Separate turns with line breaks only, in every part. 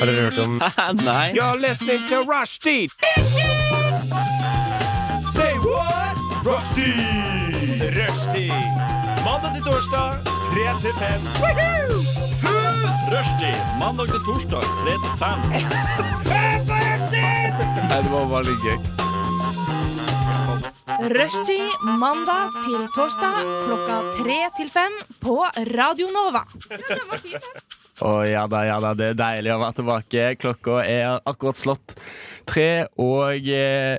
Har dere hørt om
Nei.
You're listening to Rushdie. Say what? Rushdie. Rushdie. Mandag til torsdag, 3 til 5.
Rushdie. Mandag til torsdag, 3 til 5.
Nei, det var bare litt gøy.
Rushtid mandag til torsdag klokka tre til fem på Radio Nova.
Å ja da, ja da, det er deilig å være tilbake. Klokka er akkurat slått tre, og eh,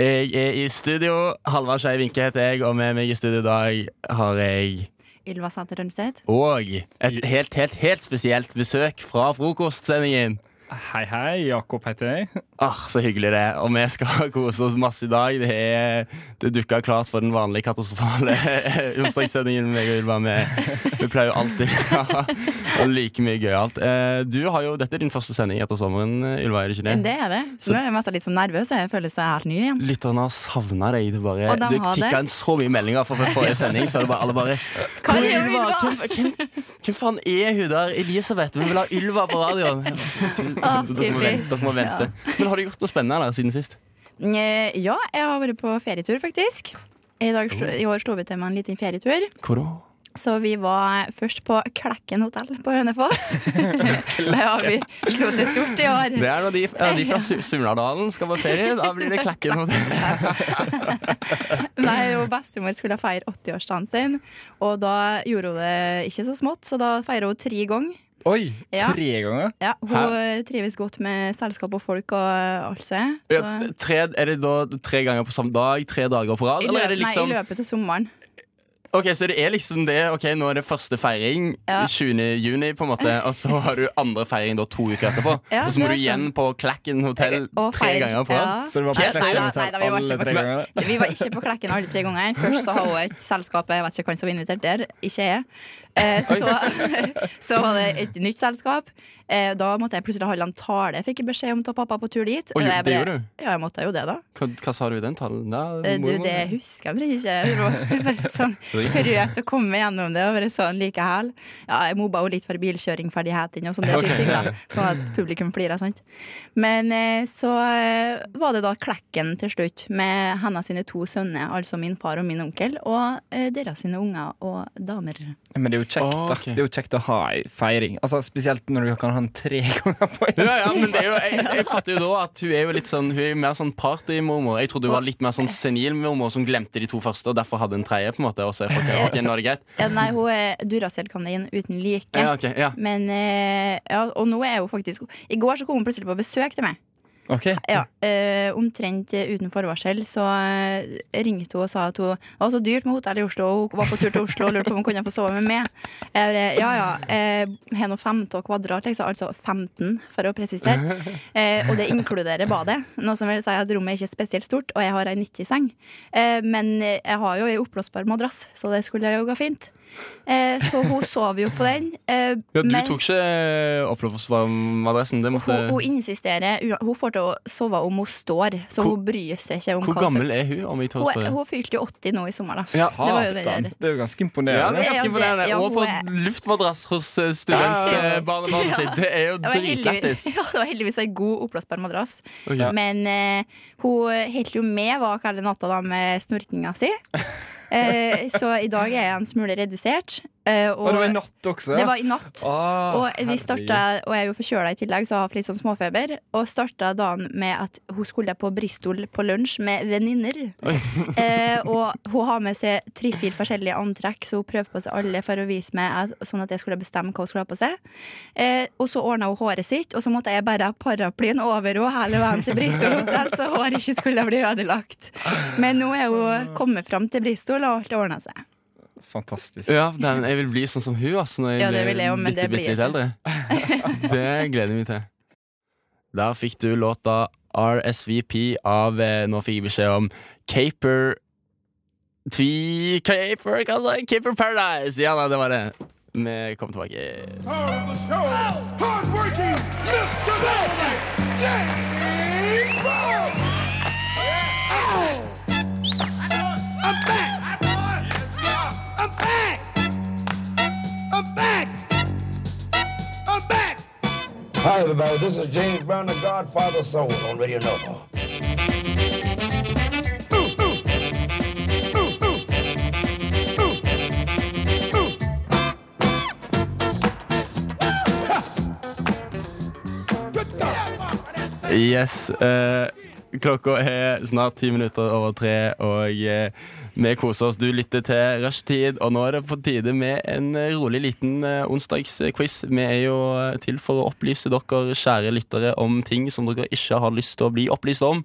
jeg er i studio. Halvard Skei Vinke heter jeg, og med meg i studio i dag har jeg
Ylva Sæter Rønstedt.
og et helt, helt, helt spesielt besøk fra frokostsendingen.
Hei, hei. Jakob heter jeg.
Ah, Så hyggelig det. Og vi skal kose oss masse i dag. Det, er- det dukka klart for den vanlige katastrofale onsdagssendingen meg og Ylva med. Vi pleier jo alltid å ha like mye gøyalt. Eh, Du har jo, Dette er din første sending etter sommeren, Ylva, er det ikke det?
Det er det. Så nå er jeg mest litt sånn nervøs, og jeg føler seg helt ny igjen.
Lytterne har savna deg. Det, bare,
Og de
det
har det.
tikka inn så mye meldinger fra forrige sending. Så er det bare, alle bare
Hva
Hvor
gjør
er Ylva?
Ylva?
Hvem, hvem, hvem faen er hun der? Elisabeth? Vi vil ha Ylva på radioen! Dere må vente. Dere må vente. Men har du gjort noe spennende der siden sist?
Eh, Ja, jeg har vært på ferietur, faktisk. I, dag, slo-
Oh.
I år slo vi til med en liten ferietur.
Hvor da?
Så vi var først på Klekken hotell på Hønefoss. Det har vi slo til stort i år.
Det er når de, ja, de fra Su- Surnadalen skal på ferie. Da blir det Klekken hotell.
Nei, og bestemor skulle feire 80-årsdagen sin, og da gjorde hun det ikke så smått, så da feirer hun tre ganger.
Oi,
Ja.
tre ganger?
Ja, hun trives godt med selskap og folk og alt sånt.
Ja, tre, er det da tre ganger på samme dag? Tre dager på rad? Eller er det liksom
Nei, i løpet av sommeren.
Ok, Så det er liksom det. Ok, Nå er det første feiring
Ja.
20. juni, på en måte. Og så har du andre feiring da to uker etterpå.
Ja,
og så må
det
du
er
igjen
sant.
på Klekken hotell
Og
tre
feir-
ganger på rad.
ja.
Så det var
Helt
perfekt.
seriøst?
å ta
Nei, nei, vi var
alle
ikke
tre
på-
gangene.
Vi var ikke på Klekken alle tre gangene. Først så har hun et selskap, jeg vet ikke hvem som var invitert der, ikke jeg. Eh, så, så var det et nytt selskap. Eh, da måtte jeg plutselig holde en tale. Jeg fikk beskjed om å ta pappa på tur dit.
Oi,
Og
det
jeg bare-
gjorde du?
Ja, jeg måtte jo det, da.
Hva, hva sa du i den talen? Da,
Eh, Du,
mormor?
det husker jeg ikke. Det var bare sånn røft å komme gjennom det. Og bare sånn likevel. Ja, jeg mobba jo litt for bilkjøringferdighetene og sånne der type ting, da. Sånn at publikum flira, sant. Men eh, så eh, var det da Klekken til slutt, med hennes sine to sønner, altså min far og min onkel, og eh, deres sine unger og damer.
Men det er jo kjekt, da.
Ah, ok.
Det er jo kjekt å ha ei feiring. Altså, Spesielt når du kan ha den tre ganger på en
Ja, ja, men det er jo, jeg, jeg fatter jo da at hun er jo litt sånn Hun er jo mer sånn partymormor. Jeg trodde hun var litt mer sånn senilmormor som glemte de to første, og derfor hadde en tredje. på en måte Og så er folk her, ok, nå er det greit
Ja, nei, hun er Duracell-kanin uten like.
ja, ok, ja.
Men eh, ja, Og nå er hun faktisk I går så kom hun plutselig på besøk til meg.
Ok,
Ja, eh, Omtrent eh, uten forvarsel så eh, ringte hun og sa at hun det var så dyrt med hotell i Oslo. og Hun var på tur til Oslo og lurte på om hun kunne få sove med meg. Jeg bare, ja ja, eh, har nå 15 kvadrat, liksom, altså 15 for å presisere. Eh, og det inkluderer badet. Noe som vil si at rommet er ikke spesielt stort, og jeg har ei 90-seng. Eh, men jeg har jo ei oppblåsbar madrass, så det skulle jo gå fint. Eh, så hun sov jo på den. Eh,
Ja, du
men-
tok ikke eh, opplovsvarmadressen. Det måtte
hun, hun insisterer. Hun- Hun får til å sove om hun står, så
Hvor-
hun bryr seg ikke om
Hvor
hva som-
gammel er hun? om jeg tar
Hun,
det?
er- hun fylte jo 80 nå i sommer, da.
Ja,
det var jo det
satan.
der.
Det er jo ganske
Ja, det
imponerende.
er ganske
Ja,
imponerende.
det- ja,
Og på
hun er-
luftmadrass hos eh, studentbarnebarnet sitt. Det er jo
Det var, heldigvis,
dritlættis.
ja, det var heldigvis en god oppblåsbar madrass.
Ja.
Men eh, hun holdt jo med vak hele natta da med snorkinga si. Eh, så i dag er jeg en smule redusert. eh, og
Og det var i natt også.
det var i natt.
Ah,
Og vi starta, og jeg er jo forkjøla i tillegg, så jeg har hatt litt sånn småfeber. Og starta dagen med at hun skulle på Bristol på lunsj med venninner. eh, og hun har med seg tre-fire forskjellige antrekk, så hun prøver på seg alle for å vise meg at, sånn at jeg skulle bestemme hva hun skulle ha på seg. Eh, og så ordna hun håret sitt, og så måtte jeg bare ha paraplyen over henne hele veien til Bristol hotell, så håret ikke skulle bli ødelagt. Men nå er hun kommet fram til Bristol, og alt har ordna seg.
herregud. Fantastisk.
Ja, den, jeg vil bli sånn som hun ass, når jeg
Ja, det
blir
vil jeg også, men
bitte,
det blir
bitte litt eldre. Det gleder jeg meg til. Der fikk du låta RSVP av eh, Nå fikk jeg beskjed om Caper Tvi... Caper, hva sa jeg? Caper Paradise! Ja da, det var det. Vi kommer tilbake.
Hi, everybody. This is James Brown, the Godfather of Soul on Radio Nova.
Yes. eh, klokka er snart ti minutter over tre, og eh, vi koser oss. Du lytter til rushtid, og nå er det på tide med en eh, rolig liten eh, onsdagsquiz. Vi er jo eh, til for å opplyse dere kjære lyttere om ting som dere ikke har lyst til å bli opplyst om.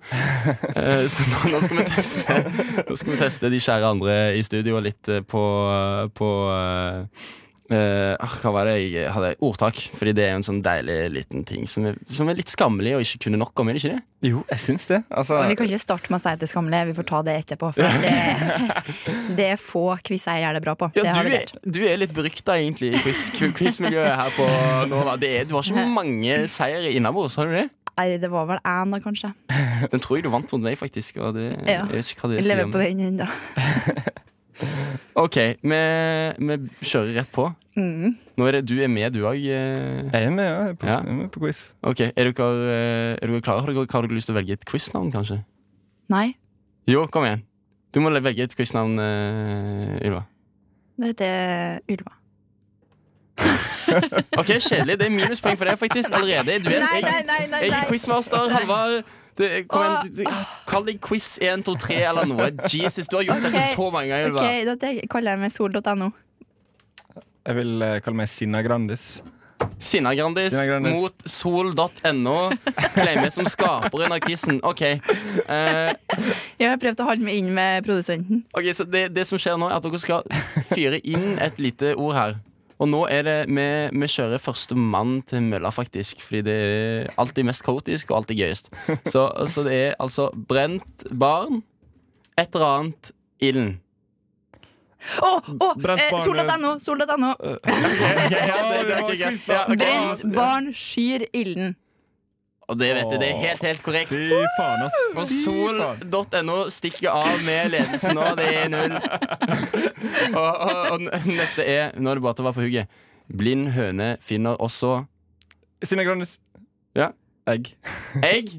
Eh, så nå, nå, skal vi teste, nå skal vi teste de kjære andre i studio litt eh, på, eh, på eh, Eh, ah, hva var det jeg hadde? Ordtak. Fordi det er jo en sånn deilig liten ting som er, som er litt skammelig å ikke kunne nok om. Er det ikke det?
Jo, jeg syns det. Altså,
Men vi kan ikke starte med å si at det er skammelig. Vi får ta det etterpå. For det, det er få quiz jeg gjør det bra på. det har
du,
vi
er,
lært.
du er litt berykta, egentlig, i quiz, quizmiljøet her på Nova. Det er, du har ikke mange seire innabords, har du det?
Nei, det var vel én, da, kanskje.
Den tror jeg du vant mot meg, faktisk. Og det,
Ja.
jeg vet ikke hva det
Jeg
sier.
lever
om-
på den ennå.
OK, vi, vi kjører rett på.
Mm.
Nå er det du er med, du òg. eh.
jeg er med, ja. Jeg er på,
Ja.
Jeg er med på quiz.
OK, er dere, eh, er dere klare? Har dere, har dere lyst til å velge et quiznavn, kanskje?
Nei,
Jo, kom igjen. Du må velge et quiznavn, eh, Ylva.
det heter Ylva.
Ok, Kjedelig. Det er minuspoeng for deg faktisk allerede. Du er, jeg,
nei, nei!
jeg er quizmaster. Halvard. Det, kom igjen.
Åh.
Kall deg quiz 1, 2, 3 eller noe. Jesus, du har gjort dette
Ok.
så mange ganger.
Ok,
Ylva.
Dette kaller jeg meg sol.no.
Jeg vil eh, kalle meg Sinna Grandis.
Sinna Grandis
Sinna Grandis.
mot sol.no. Claimer som skaperen av quizen. OK. Eh,
Jeg har prøvd å holde meg inn med produsenten.
ok, så det, det som skjer nå, er at dere skal fyre inn et lite ord her. Og nå er det Vi, vi kjører første mann til mølla, faktisk. Fordi det er alltid mest kaotisk, og alltid gøyest. Så, så det er altså brent barn, et eller annet, ilden.
Å, å!
Brent
eh,
barn-
Sol.no! Sol.no! Brent barn skyr ilden.
Og det vet du, det er helt, helt korrekt.
Fy faen, ass.
Og
Fy faen.
sol.no stikker av med ledelsen nå. Det er null. Og, og, og neste er Nå er det bare til å være på hugget. Blind høne finner også
Sinna Grandis.
Ja.
Egg.
egg.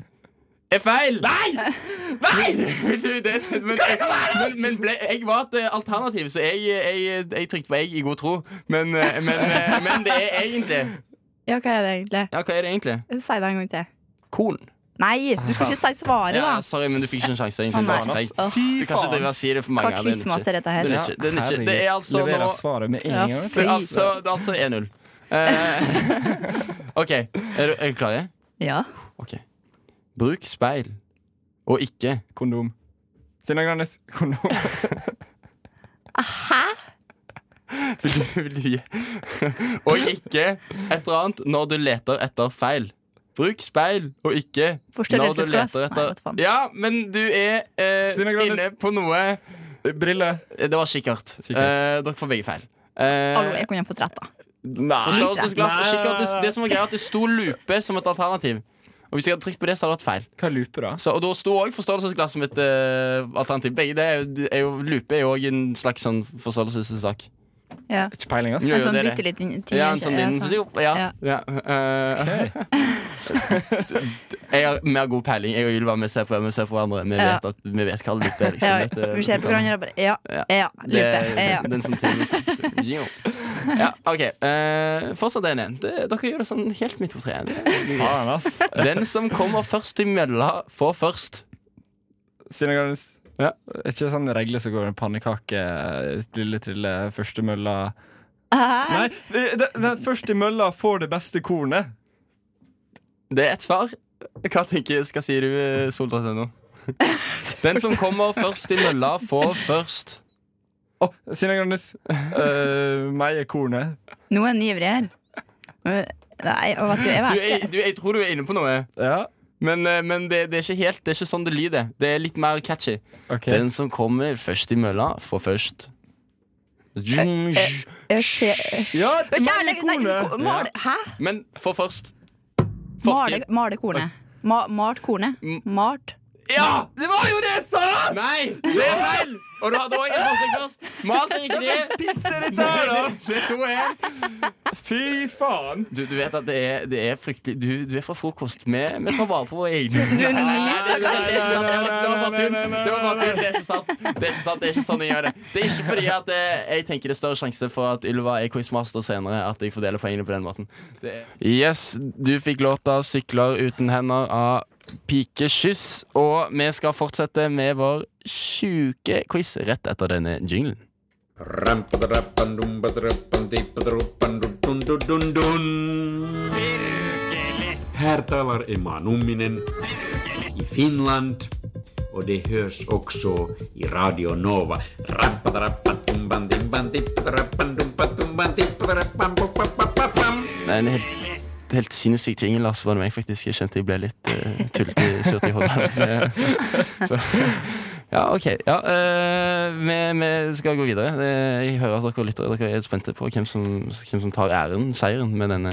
Er feil! Nei! Nei! det, men, men, men ble, jeg var et eh, alternativ, så jeg, jeg, jeg trykte på egg i god tro. Men, eh, men, eh, men det er egentlig
Ja, hva er det egentlig?
Ja, hva er det egentlig?
Si det en gang til.
Korn.
Nei, du skal ikke si svaret,
Ja,
da!
sorry, men du fikk ikke en sjanse.
Å,
egentlig.
nei.
Bare feil.
Åh,
Du kan ikke drive og si det for mange.
Hva
ja, det er ikke-
quizmaster er dette
Det
her?
er ikke, det er, ikke, det er altså nå
Leverer svaret med en
Ja,
gang. vet du.
Det er altså, det er altså 1-0. Eh, OK, er du, er du klare?
Ja.
Ok. Bruk speil og ikke
Kondom. Sinna Grandis. Kondom.
Hæ?
Vil du gi- Og ikke et eller annet når du leter etter feil. Bruk speil og ikke når du
Forstørrelsesglass?
leter
Nei, vet
etter
faen.
Ja, men du er eh,
Stina Grandis.
inne på noe
Briller.
Det var kikkert.
Kikkert.
Eh, dere får begge feil. Eh,
Hallo, jeg kunne fått rett, da.
Forstørrelsesglass og kikkert. Det, det som var greia, er at det sto lupe som et alternativ. Og hvis jeg hadde trykt på det, så hadde det vært feil.
Hva looper, da?
Så, og da sto òg forstørrelsesglass som et eh, alternativ. Begge det er jo, det er jo, Lupe er jo òg en slags sånn forstørrelsessak.
Ja.
Ikke peiling, ass.
Jo,
En
jo,
sånn
det er det.
bitte liten ting. eh,
Ja,
jeg
en sånn
ikke-
din
ja,
jo, Ja.
Ja.
eh, jeg har mer god peiling. Jeg og Ylva vi ser på, vi ser på hverandre. Vi
Ja.
vet, at, vi vet hva lupe er. Liksom.
Ja,
Dette-
vi ser på hverandre og bare Ja,
Ja.
ja,
Det
lupe.
er
Ja.
den som til- Jo. Ja, OK. eh, fortsatt 1-1. Det- Dere gjør det sånn helt midt på treet. Det-
Faen, ass.
Den som kommer først til mølla, får først.
Siden jeg har-
Ja.
Er Ikke sånn regler som går med pannekake, eh, lille trille, første mølla
Hæ?
Nei, den første mølla får det beste kornet.
Det er ett svar. Hva tenker skal si du, eh, sol.no? Den som kommer først til mølla, får først.
Å, Sina Grandis. Uh, meg er kornet.
Nå er han ivrig her. Nei, og vet du,
Du,
jeg vet
jeg,
ikke.
du, jeg tror du er inne på noe,
Ja.
men, eh, men det, det er ikke helt Det er ikke sånn det lyder. Det er litt mer catchy.
Ok.
Den som kommer først til mølla, får først. Eh,
Jeg ser-
Ja, meg er
Kjærlighet, nei, ko-
kornet!
mal, hæ?
Men får først.
Male,
Fortid.
male kornet. Ma, malt kornet. Malt
Ja!
Det var jo det jeg sa!
Nei! Det er feil! Og du hadde òg en pasningskast. Maten gikk ned.
Pisser dette her, da!
Det er to igjen. Fy faen. Du, du vet at det er, det er fryktelig Du, du er fra frokost. Vi, vi tar vare på våre egne. Nei, nei, nei, nei, nei, nei, nei, nei, Det var bare tull. Det var bare tull. Det er ikke sant. Det er ikke sant, det er ikke sånn jeg gjør det. Det er ikke fordi at eh, jeg tenker det er større sjanse for at Ylva er quizmaster senere, at jeg fordeler poengene på den måten. Det er... Yes, du fikk låta 'Sykler uten hender' av Pikekyss, og vi skal fortsette med vår sjuke quiz rett etter denne jinglen.
Her talar Emma Numminen i Finland och det hörs också i Radio Nova.
Det er en helt, helt sinnssyk ting, Lars, var det meg faktisk. Jeg kjente jeg ble litt uh, tullete surt i hodet. ja, OK. Ja, eh, vi, vi skal gå videre. Det- Jeg hører at dere lytter. Dere er spente på hvem som, hvem som tar æren, seieren, med denne,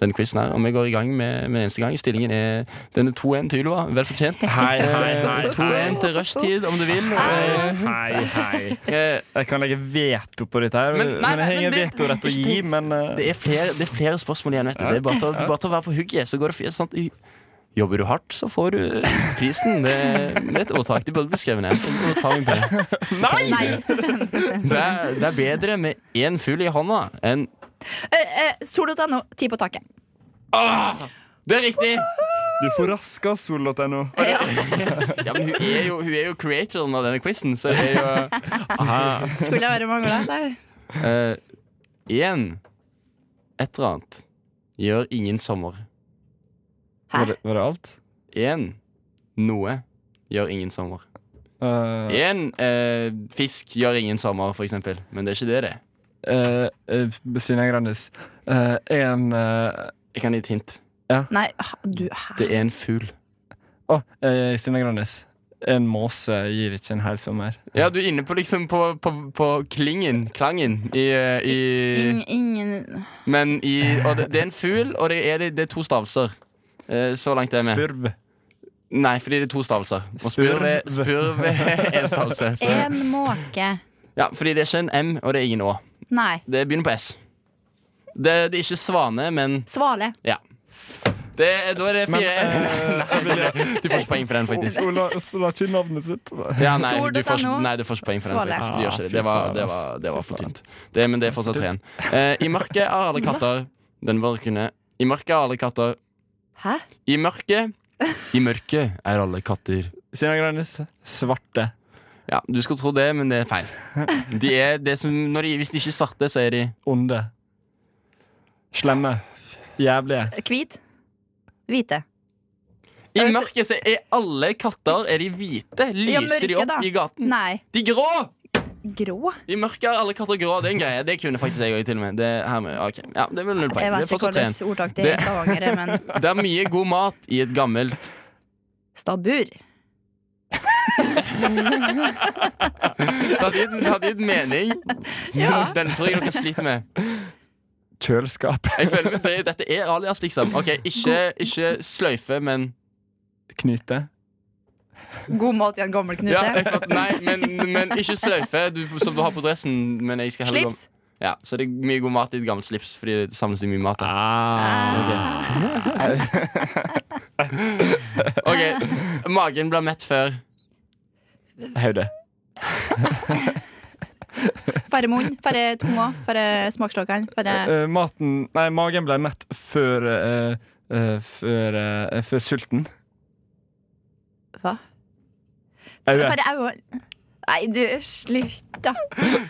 denne quizen her. Og vi går i gang med, med eneste gang. Stillingen er denne 2-1 til Ylva. Vel fortjent.
Hei, hei, hei,
Eh, 2-1 til rushtid, om du vil. Eh,
Hei, hei.
eh,
Jeg kan legge veto på dette her.
Men-
Men,
nei, nei,
jeg har
men
ingen
det-
vetorett å
ikke
gi,
tenk-
men eh,
Det er flere, det er flere spørsmål igjen, vet du. Det er bare til, å- bare til å være på hugget, så går det fint. Sant? Jobber du hardt, så får du prisen. Det, det er et ordtak de burde bli skrevet ned. Så må du ta min penge.
Nei.
Det, er, det er bedre med én fugl i hånda enn
Eh, eh, Sol.no, ti på taket.
Det er riktig!
du får raska sol.no.
Ja, men hun er jo, hun er jo creatoren av denne quizen, så det er jo
Skulle jeg være mangla, sa
eh, Igjen. Et eller annet gjør ingen sommer.
Hæ?
Var det, var det alt?
Igjen. Noe gjør ingen sommer.
Eh,
Én eh, fisk gjør ingen sommer, for eksempel. Men det er ikke det, det.
eh, eh, Sina Grandis. Eh, en eh,
Jeg kan gi et hint.
Nei, ah, du hæ?
Det er en fugl.
Å, eh, Stina Grandis. En måse gir ikke en hel sommer.
Ja, du er inne på liksom på, på, på klingen, klangen, i, eh,
Ing,
i
ingen
Men i Og det, det er en fugl, og det er, det er to stavelser. Eh, Så langt er vi.
Spurv.
Nei, fordi det er to stavelser. Og spurv er- spurv er én stavelse. Så.
En måke.
Ja, fordi det er ikke en M, og det er ingen Å.
Nei.
Det begynner på S. Det, det er ikke svane, men
Svale.
det, Da er det
Men
fire Nei, Du får ikke poeng for den, faktisk.
Hun la la ikke navnet sitt på det.
Ja, nei,
Sol.no.
du får, nei, du får ikke poeng for den.
Svale.
faktisk. Du gjør ikke det.
Ah,
Det, var,
fy faen,
det,
ass.
var, det var
Fy
for
faen.
tynt. Det, men det er fortsatt tre igjen. Eh, I mørket er alle katter Den var kunne. I mørket er alle katter
Hæ?
I mørket I mørket er alle katter.
Sina Grandis. Svarte.
Ja, Du skulle tro det, men det er feil. De er det som, når de, hvis de ikke er svarte, så er de
Onde. Slemme. Jævlige.
Hvit. Hvite.
I mørket så er alle katter Er de hvite.
Ja,
Lyser
mørke,
de opp
da.
i gaten?
Nei.
De er grå!
Grå.
I mørket er alle katter grå. Det er en greie. Det kunne faktisk jeg òg, til og med. Det, her med ok. ja, det blir null poeng. Det
Jeg vet
er
ikke
fortsatt tre igjen.
hvilket ordtak det er
Det-
i Stavanger, men
Det er mye god mat i et gammelt
stabbur.
Det hadde gitt, det hadde gitt mening.
Ja.
Den tror jeg dere sliter med.
Kjøleskap.
Jeg føler med det, Dette er alias, liksom. Ok, Ikke, ikke sløyfe, men
Knyte.
God mat i en gammel knute.
ja, jeg fatt- Nei, men, men ikke sløyfe du, som du har på dressen. Men jeg skal heller gå-
Slips.
Ja, Så det er mye god mat i et gammelt slips, fordi det samles i mye mat. der. Ah,
Ah.
Ok, Magen blir mett før.
Hode.
Færre munn, færre tunga, færre smaksløkene. Færre
Eh, maten Nei, magen ble mett før eh, eh, før, eh, før sulten.
Hva?
Øye.
Færre øyne. Nei, du, slutt, da.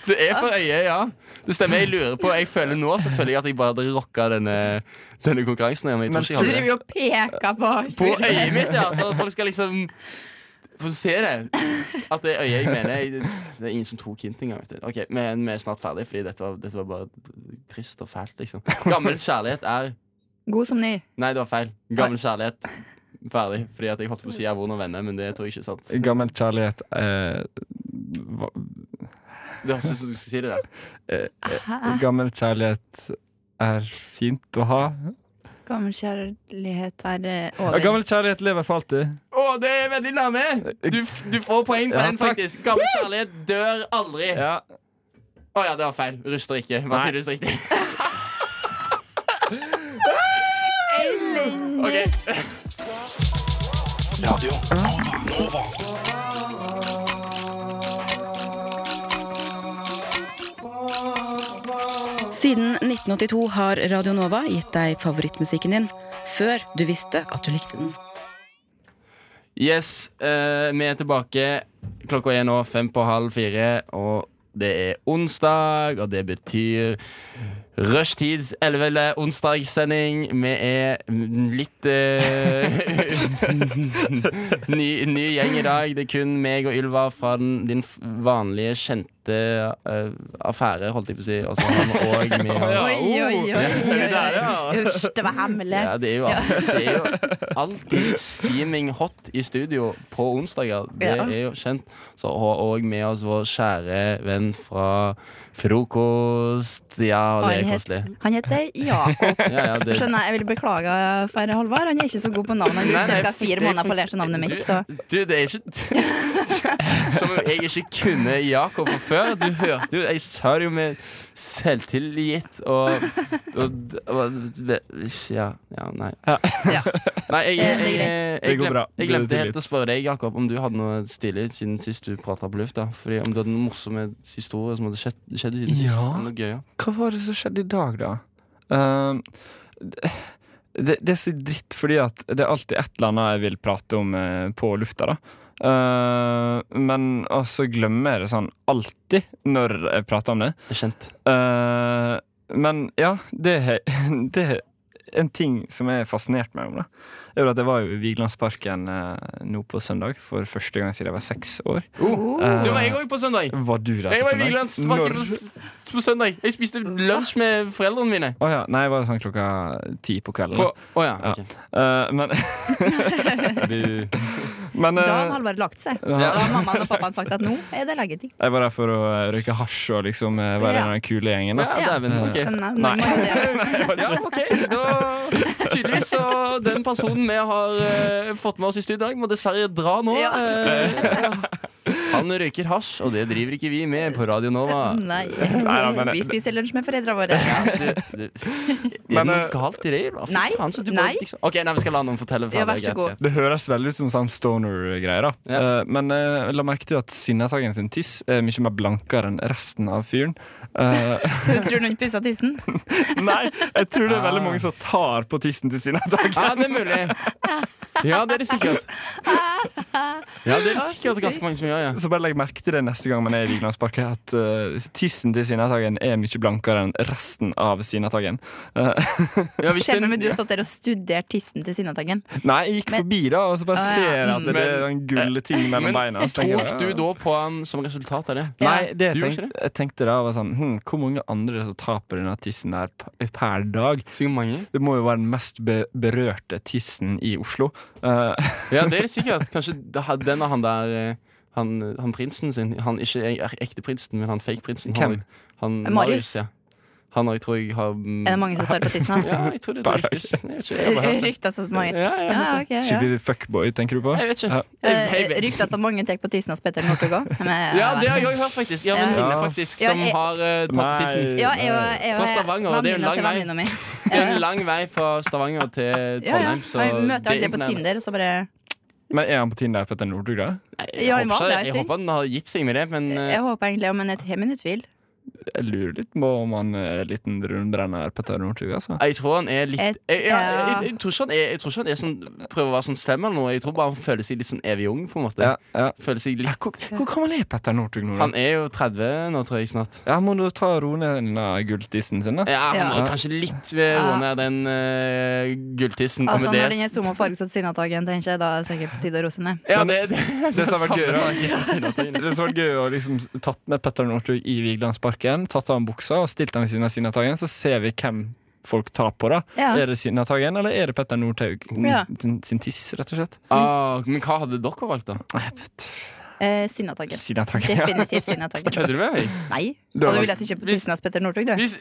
Det er for
Ah.
øyet, ja. Det stemmer. Jeg lurer på, jeg føler nå så føler jeg at jeg bare hadde rocka denne, denne konkurransen. her, Men jeg tror
Men
ikke jeg
Du
hadde det.
driver jo og peker på alt.
På øyet mitt, ja. Så at folk skal liksom få se det. At det øyet jeg mener jeg- Det er ingen som tok hint engang. vet du. Ok, Men vi er snart ferdig, fordi dette var, dette var bare trist og fælt, liksom. Gammel kjærlighet er
God som ny.
Nei, det var feil. Gammel kjærlighet. Ferdig. Fordi at jeg holdt på å si 'jeg er vond og venner', men det tror jeg ikke er sant.
Gammel kjærlighet eh, hva,
Det høres ut som du skal si det der.
Hæ?
Gammel kjærlighet er fint å ha.
Gammel kjærlighet er eh,
Ja,
over.
gammel kjærlighet lever for alltid.
Å, det er veldig nærme! Du, f- du får poeng på
Ja,
den,
takk.
faktisk. Gammel kjærlighet dør aldri. Å ja.
Ja.
det var feil. Ruster ikke. Var
Nei.
tydeligvis riktig.
Elendig.
Ok.
Radio Nova. Nova.
Siden 1982 har Radio Nova gitt deg favorittmusikken din før du visste at du likte den.
Yes, eh, vi er tilbake. Klokka er nå fem på halv fire, og det er onsdag, og det betyr Rushtids 11. onsdagssending. Vi er litt eh, ny, ny gjeng i dag. Det er kun meg og Ylva fra den, din f- vanlige, kjente eh, affære, holdt jeg på å si. Altså, Og så har vi òg med oss
Oi, oi, oi. oi, oi. Usch, det var hemmelig.
ja, det, er jo alltid, det er jo alltid steaming hot i studio på onsdager. Det
Ja.
er jo kjent. Så har òg med oss vår kjære venn fra frokost. Ja, og det er
Han het-
koselig.
Han heter Jakob.
Ja, ja, det,
Skjønner, jeg vil beklage for Halvard. Han er ikke så god på navn. Han
Nei, nei,
har ca.
det
fire
er
måneder
for-
på å lære seg navnet mitt, så
Du, du, det er ikke Som jeg ikke kunne Jakob fra før. Du hørte jo Jeg sa det jo med selvtillit og, og, og ja, ja, nei.
Ja.
Nei, jeg, jeg, jeg,
Det er
jeg,
greit.
Det går
glem-
bra.
jeg
Du er
glemte helt
tilgitt.
å spørre deg, Jakob, om du hadde noe stilig siden sist du prata på lufta. Fordi om du hadde noen morsomme historier som hadde skjedd, skjedd siden sist.
Ja.
Noe gøy, ja.
Hva var det som skjedde i dag, da? Ehm, det, det er så dritt, fordi at det er alltid et eller annet jeg vil prate om eh, på lufta. da Eh, Men altså glemmer jeg det sånn alltid når jeg prater om det.
Det er kjent.
Eh, men ja, det er, det er en ting som jeg er fascinert meg om. da er jo at Jeg var jo i Vigelandsparken eh, nå på søndag for første gang siden jeg var seks år. Eh,
Det Oh, var jeg òg på søndag.
Var du der
Jeg
på
var i
søndag?
Vigelandsparken
Når-
på, s- på søndag. Jeg spiste lunsj med foreldrene mine.
Å ja. Nei, jeg var sånn klokka ti på kvelden.
På, å ja,
Ja.
ok.
Eh, men
Du-
men eh,
da har Halvard lagt seg. Da har mammaen og pappaen sagt at nå er det leggetid.
jeg var der for å eh, røyke hasj og liksom eh, være
Ja.
en av de kule gjengene.
Ja,
Ja.
dæven. ok.
Skjønner. Nå må jeg det.
Ja, ok. Da, tydeligvis så den personen vi har eh, fått med oss i studio i dag, må dessverre dra nå.
Ja.
Eh, han røyker hasj, og det driver ikke vi med på Radio Nova.
Neida, men- eh,
Nei. Vi spiser lunsj med foreldrene våre.
Det, det, er det
Men,
noe
eh,
galt i det? Ylva? Fy
nei,
faen, så du bare
nei.
liksom- Ok, nei, Vi skal la noen fortelle. det
Ja,
er
vær så
greit,
god.
greit.
Det høres veldig ut som sånn stoner-greier. da
Ja.
Eh, Men eh, la merke til at Sinnataggen sin tiss er mye mer blankere enn resten av fyren. Eh,
Så tror du hun pussa tissen?
nei, jeg tror det er veldig
Ah.
mange som tar på tissen til Sinnataggen.
Ja, det er mulig. Ja, det er det sikkert. Ja, det er det sikkert ganske mange som gjør, ja.
Så bare legg merke til det neste gang man er i Vigelandsparken, at eh, tissen til Sinnataggen er mye blankere enn resten av Eh, Sinnataggen.
ja hvis
Ser
det-
for meg du har stått der og studert tissen til Sinnataggen.
Nei, jeg gikk
Men-
forbi, da, og så bare
Ah, ja.
ser jeg at det er
Men- eh,
en gulleting mellom beina. så tenker jeg,
Tok du da på han som resultat av det?
Ja.
Nei, det
Du
jeg
gjorde
tenkte,
ikke
jeg tenkte da var sånn hm, Hvor mange andre som taper denne tissen der p- per dag?
Sikkert mange.
Det må jo være den mest be berørte tissen i Oslo. Eh,
Ja, det er det sikkert. Kanskje det had- den og han der eh, han, han prinsen sin. Han ikke e-, er ekte prinsen, men han fake prinsen.
Hvem?
Han, han, Marius,
Marius?
ja. Han òg tror jeg har mm,
Er det mange som tar på tissen hans?
Ja, jeg tror det er riktig. Jeg vet ikke. Jeg, bare hørte det.
Ryktes at mange
ja, jeg,
Ja,
hørte det.
ok, ja.
Skikkelig fuckboy, tenker du på?
jeg vet ikke.
Ja.
Jeg- jeg
Eh,
vet-
Ryktes at mange tar på tissen hos Petter Northug eh, òg.
Ja, det har jeg òg hørt, faktisk. Ja,
Ja.
venninne, faktisk,
Ja,
som
jeg-
har eh, tatt på tissen.
Ja, jeg var, jeg
Fra Stavanger, og det er jo en
venninna til
lang vei.
venninna mi.
Det er en lang vei fra Stavanger til
Ja, ja.
Trondheim. Så
Jeg møter
det er
alle på
imponerende.
Tinder, og så bare
Men er han på Tinder Petter Northug, da?
Jeg
Ja, han var
håper,
der,
jeg
sier.
håper han har gitt seg med det, men eh,
Jeg håper egentlig, men jeg har mine tvil.
Jeg lurer litt på om han er en liten rundbrenner Petter Northug, altså.
Jeg tror han er litt jeg,
Et-
jeg, jeg,
ja.
jeg, tror ikke han er, jeg tror ikke han er sånn prøver å være sånn slem eller noe. Jeg tror bare han føler seg litt sånn evig ung. på en måte
Ja, ja.
Føler seg
Ja,
litt
hvor, hvor gammel er Petter Northug nå, da?
Han er jo 30 nå, tror jeg snart.
Ja, må du ta og roe ned denne gulltissen sin, da?
Ja, han
Ja.
må kanskje litt ved
Ja.
roe ned den uh, gulltissen. og
Altså,
med det-
når den er zoom og fargesatt sinnatagen, tenker jeg, da er det sikkert på tide å roe seg ned.
ja, det, det,
det som har vært gøy, da.
gøyere.
Det hadde vært gøy å liksom tatt med Petter Northug i Vigelandsparken, tatt av ham buksa og stilt ham ved siden av Sinnataggen, så ser vi hvem folk tar på. da
Ja.
Er det Sinnataggen, eller er det Petter Northug
Ja.
sin, sin tiss, rett og slett?
Ah, men hva hadde dere valgt, da?
Eh, sinnatagen.
Sinnataggen. Ja.
Definitivt sinnatagen.
Kødder du med meg?
Nei.
Du har
Og du
vært-
ville at jeg kjøpte tissen hans Petter Northug, du?
Hvis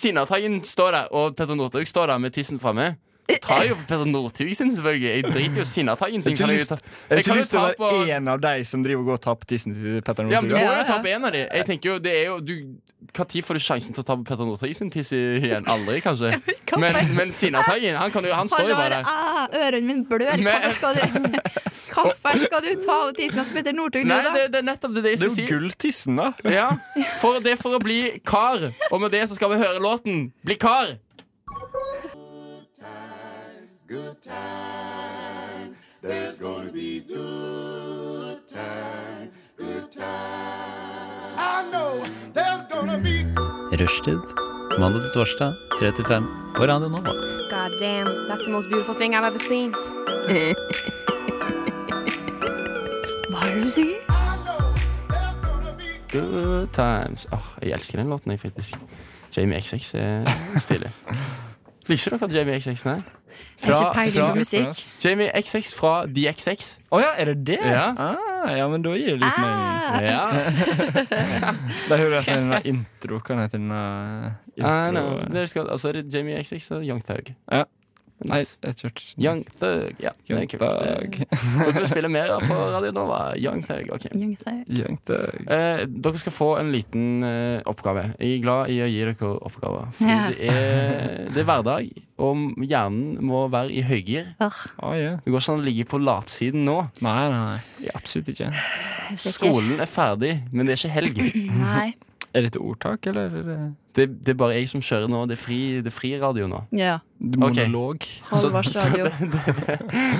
Sinnataggen står der, og Petter Northug står der med tissen framme, Jeg tar jo Petter Northug sin, selvfølgelig. Jeg driter jo i sinnataggen sin.
Jeg
Kan jeg, jo
har ikke lyst,
ta,
jeg har
jeg
ikke
kan jo
lyst til
ta
å
på
være en av de som driver og går og tar på tissen til Petter
Ja, men du må
Northug.
jo ta på en av de. Jeg tenker jo, det er jo du, Hva tid får du sjansen til å ta på Petter Northug sin tiss igjen? Aldri, kanskje. Men, men Sinnataggen, han, kan jo- han står jo
Han
bare der.
har ah, Ørene mine blør.
Men-
Hvorfor skal du Hvorfor skal du ta av tissen som heter Northug nå,
Nei,
da?
det, det er nettopp det jeg skulle
Det er
si.
jo gulltissen, da.
Ja, for det er for å bli kar. Og med det så skal vi høre låten Bli kar.
Rushtid. Mandag til torsdag, 3 til 5 på Radio Nova.
God damn, that's the most beautiful thing I've ever seen. Hva er det du sier?
Good times. Åh, jeg elsker den låten, jeg, faktisk. Jamie XX er stilig. Liker dere Jamie XX, nei?
Jeg har ikke peiling
fra-
på musikk.
Jamie XX fra DXX.
Å ja, er det det?
Ja.
Ah, ja, men da gir det litt mening.
Ah,
Ja.
Da hører jeg sånn en intro. Hva heter den uh,
I know.
intro?
Dere skal, altså, er Ah, det Jamie XX og Young Thug.
Ja. Nei,
Nice.
jeg kjørte ikke.
Young Thug. Ja, det er
Young
kult.
Thug.
Får vi spille mer på Radio Nova? Young Thug, ok.
Jungfrau.
Young Thug.
Eh, dere skal få en liten eh, oppgave. Jeg er glad i å gi dere oppgaver. For
Ja.
det, er, det er hverdag, og hjernen må være i høygir.
Å, ja.
Det går ikke an å ligge på latsiden nå.
Nei, nei, nei. Absolutt ikke.
Skolen er ferdig, men det er ikke helg.
Nei.
Er det et ordtak, eller? er det-
Det, det er bare jeg som kjører nå. Det er fri, det er fri radio nå.
Ja.
Ok.
Monolog.
Halvars radio.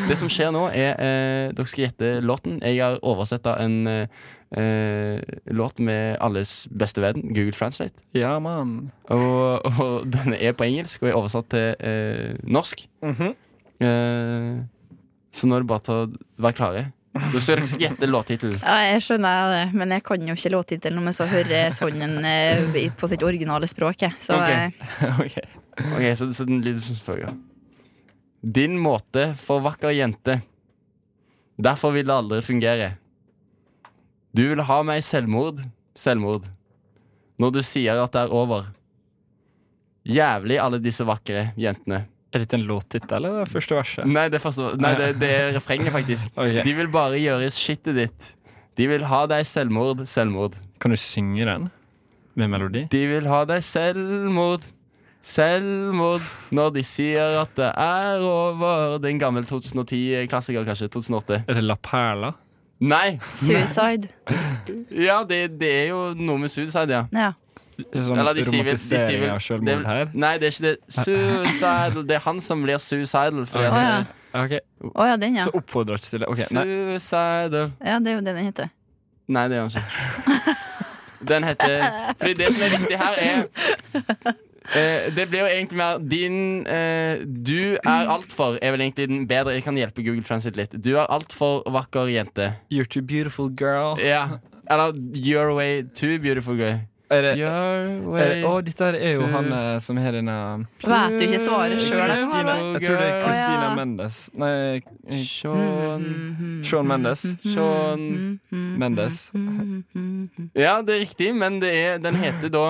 Det som skjer nå, er eh, Dere skal gjette låten. Jeg har oversett da en eh, eh, låt med alles beste venn, Google Translate.
Ja, mann.
Og, og den er på engelsk og er oversatt til eh, norsk. eh, så nå er det bare til å være klare. Da skal dere gjette låttittelen.
Ja, jeg skjønner det, men jeg kan jo ikke låttittelen om jeg så hører sånn en eh, i- på sitt originale språk. jeg. Så
Ok.
eh,
ok.
Ok, så, så den lyder som følger. Din måte for vakker jente. Derfor vil det aldri fungere. Du vil ha meg selvmord, selvmord. Når du sier at det er over. Jævlig alle disse vakre jentene.
Er dette en låttittel, eller er det første verset?
Nei, det er, første, nei, det, det er refrenget, faktisk.
Ok.
De vil bare gjøre skittet ditt. De vil ha deg selvmord, selvmord.
Kan du synge den med melodi?
De vil ha deg selvmord, selvmord. Når de sier at det er over. Det er en gammel 2010-klassiker, kanskje. 2008.
Er det La Perla?
Nei!
Suicide.
Ja, det, det er jo noe med suicide, ja.
Ja.
Sånn
Eller de sier vel- de sier
romantisering
vel-
av
det er vel-
selvmord her?
Nei, det er ikke det. Suicidal. Det er han som blir suicidal. Fordi
Å ja.
at-
Ok,
Å ja, den, ja.
Så oppfordrer ikke til det. Ok, nei.
Suicidal.
Ja, det er jo det den heter.
Nei, det gjør han ikke. Den heter Fordi det som er viktig her, er eh, Det blir jo egentlig mer din eh, Du er altfor er vel egentlig den bedre. Jeg kan hjelpe Google Transit litt. Du er altfor vakker jente.
You're too beautiful, girl.
Ja. Eller Your way to beautiful girl.
Er det,
Your
er det,
way
Eh, å, dette her er jo
to-
han eh, som har denne
Vet du ikke svaret
Sure,
sjøl?
Christina.
Mm, Jeg tror det er
girl.
Christina
Å, ja.
Mendes. Nei,
Sean
Sean Mendes.
Sean
Mm,
Mendes.
Ja, det er riktig, men det er, den heter da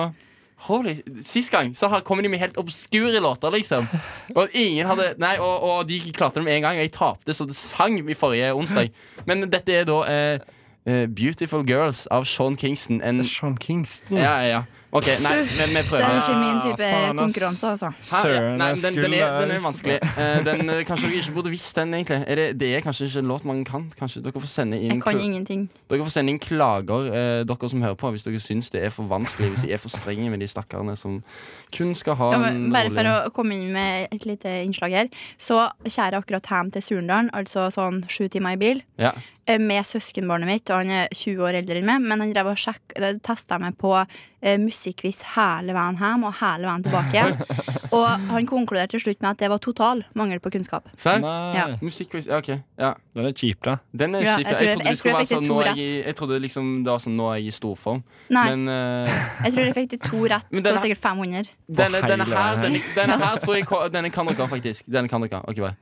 Holy, Sist gang så har- kom de med helt obskure låter, liksom. Og ingen hadde Nei, og, og de klarte det med en gang. Jeg tapte så det sang i forrige onsdag. Men dette er da eh, eh, Beautiful Girls av Sean Kingston. En,
Sean Kingston.
ja, ja, ja. OK, nei, men vi
Det er
prøver.
ikke min type
Ah, faen, ass.
konkurranse, altså.
Hæ? Ja,
Søren,
nei,
jeg
den, den, er,
skulle-
den er vanskelig. Eh, den, eh, kanskje dere ikke burde visst den, egentlig. Er det, det er kanskje ikke en låt man kan. Kanskje Dere får sende inn
Jeg kan
kl-
ingenting.
dere får sende inn klager, eh, dere som hører på, hvis dere syns det er for vanskelig. Hvis de er for strenge med de stakkarene som kun skal ha
Ja,
en
men bare
rolig-
for å komme inn med et lite innslag her, så kjærer jeg akkurat hjem til Surndalen, altså sånn sju timer i bil,
ja.
eh, med søskenbarnet mitt, og han er 20 år eldre enn meg, men han drev og sjekk- eh, testa meg på eh, musikkquiz hele veien hjem og hele veien tilbake. og han konkluderte til slutt med at det var total mangel på kunnskap.
Serr?
Nei.
Ja.
Musikkquiz. Ja, OK. Ja.
Den er kjip, da.
Den er
Ja,
kjip. Jeg,
jeg tror-
trodde
jeg
du skulle
tror
være
jeg
sånn
fikk
nå
det
er jeg,
to
i- jeg trodde liksom det var sånn nå er jeg i storform.
Nei,
Men eh,
jeg tror jeg fikk de to rett.
Men
Det
den
var
er-
sikkert 500.
denne, denne,
Å, heile
her,
veien.
denne, denne her tror jeg ko- Denne kan dere faktisk. Denne kan dere. Ok, bare.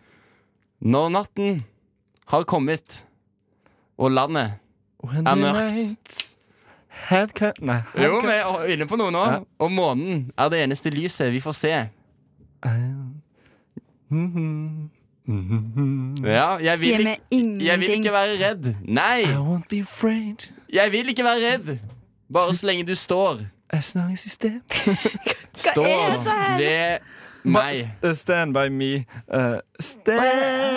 Når natten har kommet, og landet
When
Er
the
mørkt.
nights Have ca... Nei. have
Jo,
ca-
vi er inne på noe nå.
Ja.
Og månen er det eneste lyset vi får se.
Mm-hmm. Mm.
Ja, jeg
Sier
vil,
meg
ikke, jeg vil
ingenting.
ikke være redd. Nei,
I won't be afraid
jeg vil ikke være redd. Bare så lenge du står.
as long as you stand
Stå ved meg.
Eh, Stand by me. Eh, stand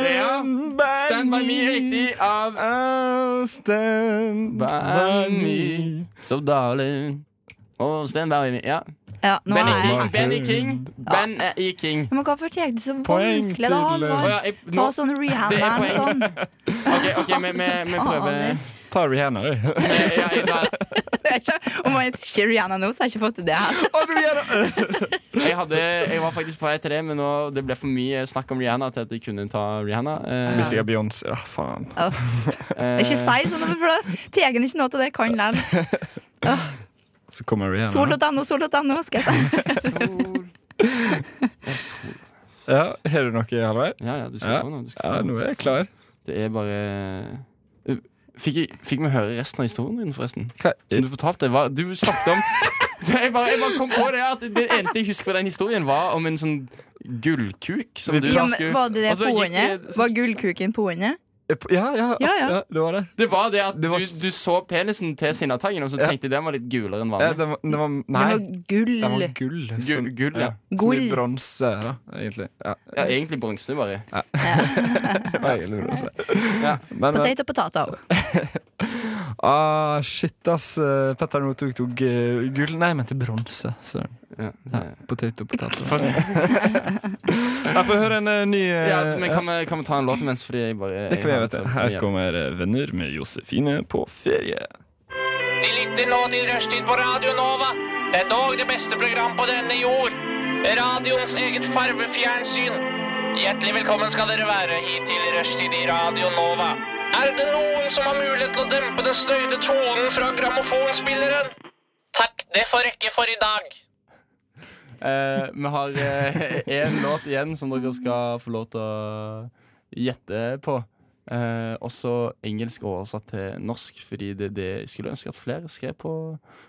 Ja,
by
Stand by me riktig av
I'll stand by me.
So darling. Og stand by me. Ja.
Ja, nå
Benny
er jeg
King. Benny King. Ben E. King.
Men Hvorfor tar du så
Poeng
vanskelig, da,
til-
Å
eh,
ja,
Halvor?
jeg,
Ta
nå,
sånn
Det er
rehanderen
poeng.
sånn.
ok, ok, vi, vi, vi prøver.
Fader.
Ta Rihanna, du.
Eh, Ja, jeg, tar-
Det er ikke- Om jeg ikke Rihanna nå, så har jeg ikke fått til det her.
Å, du Rihanna!
jeg, hadde, jeg var faktisk på vei til det, men nå, det ble for mye snakk om Rihanna til at jeg kunne ta Rihanna. Eh,
Hvis jeg er Beyoncé, da faen.
eh,
Ikke si sånn, for da tar jeg ikke noe til det jeg kan likevel.
Så kommer Rihanna.
Sol.no, sol.no, skal jeg si.
sol. Ja, sol.
Ja, Har du noe, Halvard?
Ja, ja, du skal
Ja.
få noe. Du skal
Ja,
få
nå
noe.
er jeg klar.
Det er bare eh, Fikk, jeg, fikk vi høre resten av historien din, forresten?
Hva?
Som du fortalte, var, du snakket om jeg bare, jeg bare kom på det at det eneste jeg husker fra den historien, var om en sånn gullkuk som du
Ja,
skulle
men var det det
Og så gikk
poenget?
det-
Var gullkuken poenget?
Ja, ja,
Ja, ja.
det var det.
Det var det at
Det var-
du, du så penisen til Sinnataggen, og så
Ja.
tenkte jeg den var litt gulere enn
Ja,
vanlig.
det, var, det var Nei,
Det var
det var
gull.
gull.
Gu- gull, ja.
Gull.
Gull.
bronse, da, egentlig. Ja,
Ja, egentlig bronse, bare.
det var egentlig bronse.
Ja.
Men, men
Potato, potato.
ah, shit, ass. eh, Petter nå tok, tok eh, gull. Nei, jeg mente bronse. Søren.
Ja,
Potato, potato. Jeg får høre en eh, ny eh,
ja, men kan vi, kan vi ta en låt imens? Fordi jeg bare
Det kan vi
jeg har
vite.
litt- sånn-
Her
ja.
kommer eh, Venner med Josefine på ferie.
De lytter nå til Rushtid på Radio Nova. Det er dog det beste program på denne jord. Radioens eget farvefjernsyn. Hjertelig velkommen skal dere være hit til Rushtid i Radio Nova. Er det noen som har mulighet til å dempe den støyte tonen fra grammofonspilleren? Takk, det får rekke for i dag.
Eh, vi har én låt igjen som dere skal få lov til å gjette på. Eh, også engelsk oversatt til norsk, fordi det er det jeg skulle ønske at flere skrev på.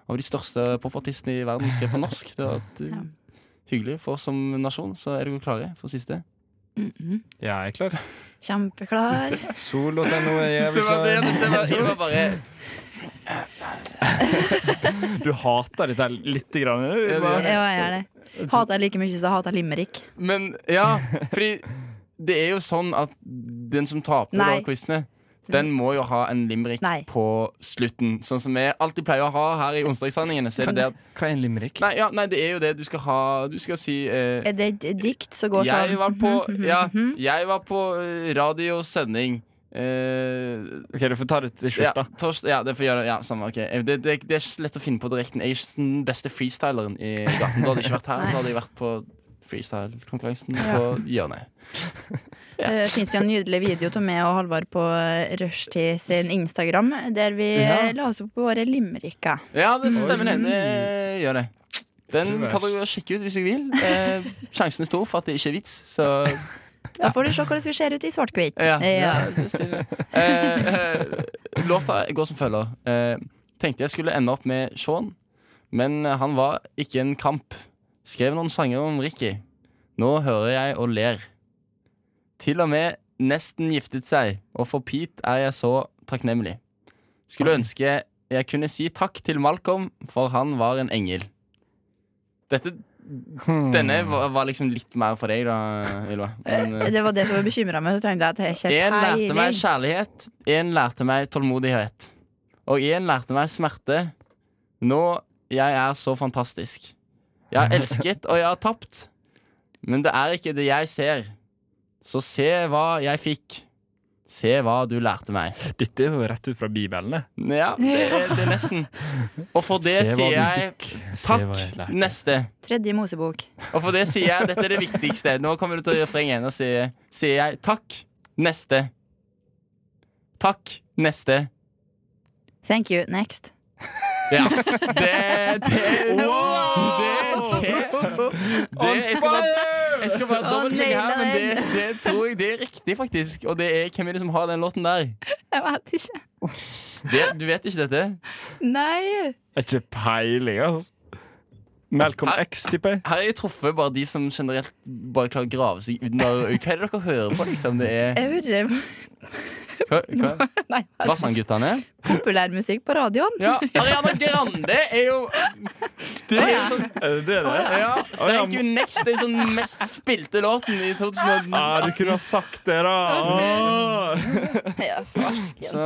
Av de største popartistene i verden skrev på norsk. Det har vært eh, hyggelig for oss som nasjon. Så er dere klare for siste?
Ja, jeg er klar.
Kjempeklar.
Sol.no er jævlig klar. Du hater dette her lite grann. du.
Ja, det gjør jeg.
Ja, jeg er det. Hater jeg like mye som jeg hater limerick.
Men ja, fordi det er jo sånn at den som taper
Nei.
da quizene, den må jo ha en limerick
Nei.
på slutten. Sånn som vi alltid pleier å ha her i onsdagssendingene. Så er det det at
Hva er en limerick?
Nei, ja, nei, det er jo det du skal ha Du skal si eh,
Er det et dikt som går
jeg,
sånn?
var på, ja,
mhm.
jeg var på eh, radiosending eh,
Ok, Du får ta det til
ja,
slutt, da.
tors, ja, det får gjøre ja, samme, ok. Eh, det, det, det er ikke så lett å finne på direkten Jeg er ikke den beste freestyleren i gaten Da hadde jeg ikke vært her, da hadde jeg vært på freestyle-konkurransen På hjørnet
Det Eh, finnes jo en nydelig video av meg og Halvard på eh, Rushtid sin Instagram, der vi eh, la oss opp på våre limericker.
Ja, det stemmer det, det gjør det
Ikke
Den
verst.
kan dere sjekke ut hvis dere vil eh, Sjansen er stor for at det ikke er vits Så
Da får du se hvordan vi ser ut i svart-hvitt.
Ja,
Ja.
ja. det stemmer. Eh, eh, låta går som følger. Eh, tenkte jeg skulle ende opp med Sean, men eh, han var ikke en kamp. Skrev noen sanger om Ricky. Nå hører jeg og ler. Til og med nesten giftet seg, og for Pete er jeg så takknemlig. Skulle ønske jeg kunne si takk til Malcolm, for han var en engel. Dette,
Hmm.
Denne var, var liksom litt mer for deg, da, Ylva. Men, eh,
Det var det som bekymra meg. Så tenkte jeg at jeg ikke
en lærte meg
peiling.
kjærlighet, en lærte meg tålmodighet. Og en lærte meg smerte. Nå jeg er så fantastisk. Jeg har elsket, og jeg har tapt. Men det er ikke det jeg ser. Så se hva jeg fikk. Se hva du lærte meg.
Dette er jo rett ut fra Bibelen. det.
Ja, det, er- det er nesten. Og for det
Se hva
sier
du
jeg
fikk. Se hva jeg
takk,
lærte.
neste.
Tredje Mosebok.
Og for det sier jeg, dette er det viktigste. Nå kommer du til refrenget igjen og sier, sier jeg takk, neste. Takk, neste.
Thank you. Next.
Ja. Det Det Det, det, det jeg, skal bare, jeg skal bare dobbeltsjekke her, men det, det tror jeg det er riktig, faktisk. Og det er hvem er det som har den låten der?
Jeg vet ikke.
Det, du vet ikke dette?
Nei.
Jeg har Ikke peiling, altså. Malcolm X, tipper jeg.
Her har jeg truffet bare de som generelt bare klarer å grave seg under Hva er det dere hører på, liksom? Det er
Jeg hører
hva, hva?
Nei, jeg
Hva sang
hører
guttene?
populærmusikk på radioen.
Ja, Ariana Grande er jo Det er jo sånn
Er det det det er?
ja, Thank You Next det er sånn mest spilte låten i 2018.
Ah, du kunne ha sagt det, da! Ah.
Så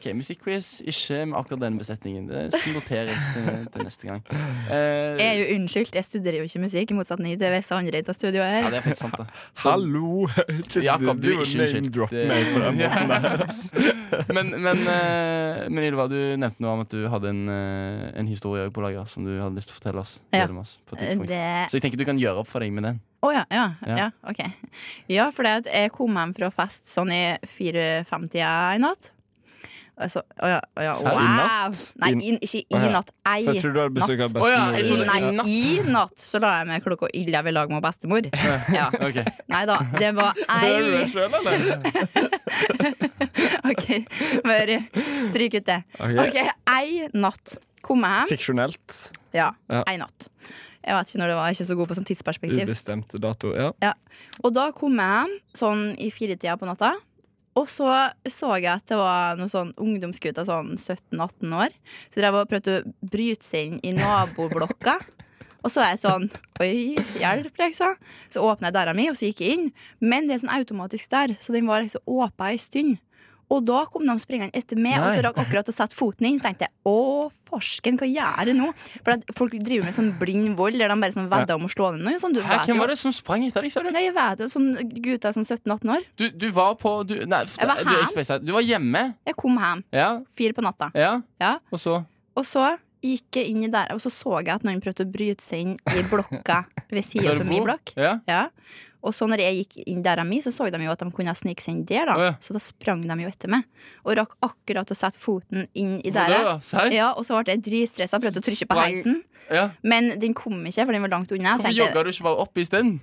OK, musikkquiz ikke med akkurat denne besetningen. Det skal noteres til, til neste gang. Eh,
Jeg er jo unnskyldt, jeg studerer jo ikke musikk, i motsetning til visse andre i dette studioet
ja,
her.
det er faktisk sant, da. Så,
Hallo! Ikke-
Jakob, du er ikke
name
unnskyldt. eh.
drop
Det-
meg på den måten der.
men, men, eh, men Ylva, du nevnte noe om at du hadde en, eh, en historie på lager som du hadde lyst til å fortelle oss.
Ja.
Gleder meg oss på et tidspunkt.
Det
Så jeg tenker du kan gjøre opp for deg med den.
Å ja, ja,
Ja.
ja. ok. Ja, for det at jeg kom hjem fra fest sånn i 4-5-tida i natt. Og så- Å ja, å ja,
Så
wow.
i
natt?
Nei,
In-
i, ikke
Å
i
ja.
natt. Ei
For jeg tror du har besøk av
natt.
Å ja, jeg
bestemor.
trodde-
Nei, i natt så la jeg meg klokka elleve i lag med bestemor. Ja.
Ok.
Nei da, det var
Hører du det
ei
sjøl, eller?
Ok, bare stryk ut det.
Ok.
Ok, ei natt kom jeg hjem.
Fiksjonelt.
Ja,
Ja.
ei natt. Jeg vet ikke når det var, jeg er ikke så god på sånn tidsperspektiv.
Ubestemt dato. Ja.
Og da kom jeg hjem sånn i firetida på natta. Og så så jeg at det var noen sånn ungdomsgutter sånn 17-18 år. Så drev og prøvde å bryte seg inn i naboblokka. Og så var jeg sånn Oi, hjelp, liksom. Så åpna jeg døra mi, og så gikk jeg inn. Men det er sånn automatisk der, så den var liksom åpen ei stund. Og da kom de springende etter meg, og så rakk akkurat å sette foten inn. Så tenkte jeg å, farsken, hva gjør jeg nå? For at folk driver med sånn blind vold, der de bare sånn vedder om å slå ned noen. Sånn, du
Hæ,
vet
hvem
jo
var det som sprang etter deg, sa du?
Nei, jeg vet det. Sånn gutter som 17-18 år.
Du, du var på du, Nei, f-
Jeg var
du,
hjemme.
jeg spacet. du var hjemme.
Jeg kom hjem
Ja,
fire på natta.
ja.
Ja.
Og så
Og så gikk jeg inn i der, og så så jeg at noen prøvde å bryte seg inn i blokka ved sida
Der
av
du
min
bor?
blokk.
Ja.
Ja. Og så når jeg gikk inn der av mi, så så de jo at de kunne snike seg inn der, da.
Å, ja.
Så da sprang de jo etter meg. Og rakk akkurat å sette foten inn i
Hvor
der.
døra? Serr?
Ja, og så ble jeg dritstressa, prøvde å trykke på
Sprang.
heisen.
Ja.
Men den kom ikke, for den var langt unna.
Hvorfor
Jeg tenkte,
jogga du ikke bare opp isteden?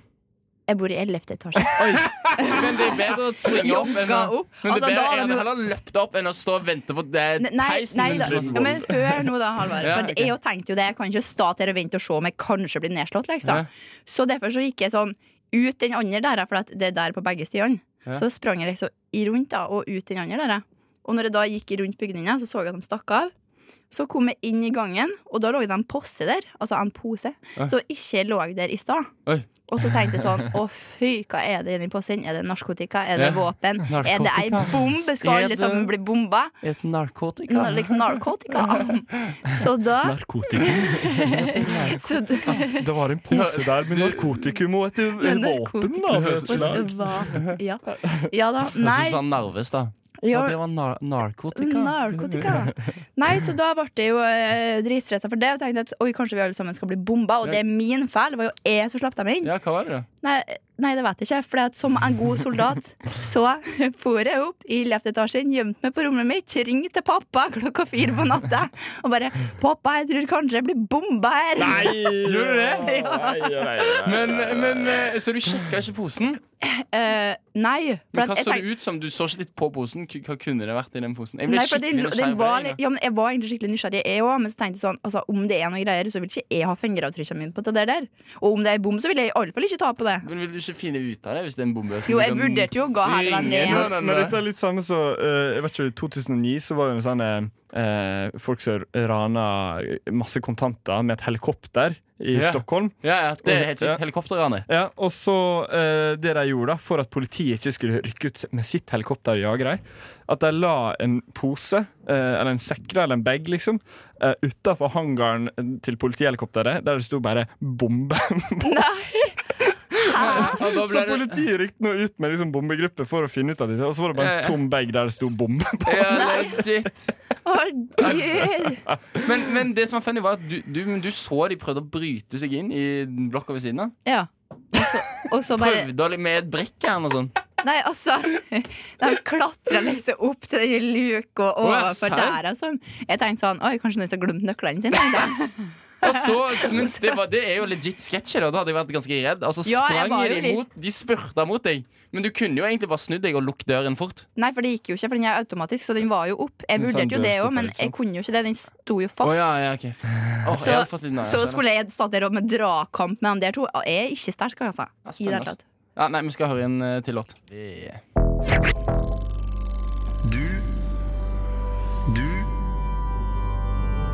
jeg bor i 11. etasje.
Oi. Men det er bedre å springe opp enn
Jogga
å
opp.
Men det
Altså,
er
da
bedre
hadde
jeg
vi-
hadde heller løpt opp enn å stå og vente på det
Ne- Nei,
peisen
nei
din
da.
som-
Ja, men hør nå, da, Halvard.
Ja,
For
ok.
Jeg jo tenkte jo det. Jeg kan ikke stå der og vente og se om jeg kanskje blir nedslått. Liksom.
Ja.
Så derfor så gikk jeg sånn ut den andre der, for at det er der på begge sidene.
Ja.
Så sprang jeg liksom i rundt da, og ut den andre der. Og når jeg da gikk rundt bygninga, så så jeg at de stakk av. Så kom jeg inn i gangen, og da lå det en posse der. Altså en pose.
Oi.
Så ikke lå der i stad.
Oi.
Og så tenkte jeg sånn Å, fy, hva er det i den posen? Er det narkotika? Er det
Ja.
våpen? Er det ei
Narkotika.
bombe? Skal
Er
alle
det-
sammen bli bomba?
Et narkotika.
Nar liksom narkotika. Så da
Narkotika.
så d-
Det var en pose der med narkotikum og et,
Ja,
et våpen
narkotikum.
av et slag.
Hva? Ja. ja da.
Nei.
Nei.
Sånn Narves, da. Ja, det
Ja,
var nar narkotika.
narkotika. Nei, så da ble det jo eh, dritstressa for det. Og tenkte at oi, kanskje vi alle sammen skal bli bomba, og det er min feil. Det var jo jeg som slapp dem inn.
Ja, hva var det, da?
Nei, nei, det vet jeg ikke. For som en god soldat så for jeg opp i left etasjen, gjemte meg på rommet mitt, ringte til pappa klokka fire på natta og bare 'Pappa, jeg tror kanskje jeg blir bomba her'.
Gjorde du det?
Ja.
Men, men, eh, så du sjekka ikke posen?
Eh, nei. For
Men
at
hva
jeg
så
tenkte-
det ut som? Du så ikke litt på posen. K- Hva kunne det vært i den posen? Jeg ble
Nei, for den,
skikkelig
den
nysgjerrig. på
var,
deg,
litt- ja, men jeg var egentlig skikkelig nysgjerrig, jeg òg. Men så tenkte jeg sånn, altså, om det er noen greier, så vil ikke jeg ha fingeravtrykkene mine på det der. Og om det er bom, så vil jeg iallfall ikke ta på det.
da. Men vil du ikke finne ut av det hvis det er sånn en bombe?
Jo, jeg vurderte jo å gå hele veien
Ingen.
ned.
Nei, nei,
Men
nei.
dette er litt samme som eh, Jeg vet ikke, I 2009 så var det jo sånne eh, folk som rana masse kontanter med et helikopter i
Ja.
Stockholm.
Ja, ja, det er helt
Ja.
sykt. Helikopterranet.
Ja, og så eh, det de gjorde da, for at politiet ikke skulle rykke ut med sitt helikopter og jage dem, at de la en pose, eh, eller en sekk da, eller en bag, liksom, uh, utafor hangaren til politihelikopteret, der det sto bare 'bombe'.
Og da
Så
ble det
politiet rykte nå ut med liksom bombegruppe for å finne ut av dette, og så var det bare
Ja, ja.
en tom bag der det sto 'bombe' på.
ja, legit.
Å, Gud.
Men, men det som var funny, var at du, du, men du så de prøvde å bryte seg inn i blokka ved siden av.
Ja. Og så- Og så bare
Prøvde å li- med et brekkjern og sånn.
Nei, altså. De klatra liksom opp til den luka
Å, ja,
overfor altså.
serr?
der og sånn. Jeg tenkte sånn Oi, kanskje noen har glemt nøklene sine? tenkte jeg.
Og så, men det, var, det er jo legit sketsjer, og da hadde jeg vært ganske redd. Altså,
Ja, jeg
sprang
var jo
de,
litt-
mot, de spurta mot deg, men du kunne jo egentlig bare snudd deg og lukket døren fort.
Nei, for det gikk jo ikke, for den er automatisk, så den var jo opp. Jeg
Men sånn
vurderte jo det
dørstopper,
òg, men
ikke
jeg
sant?
kunne jo ikke det. Den sto jo
liksom. Å
fast.
ja, ja, ok. Å, jeg hadde fått litt nære,
Så skulle jeg stått der og med drakamp med de der to. Og Jeg er ikke sterk, altså.
Ja,
I det
spennende,
hele tatt.
Ja, nei, vi skal høre en eh, til låt. Vi-
Du Du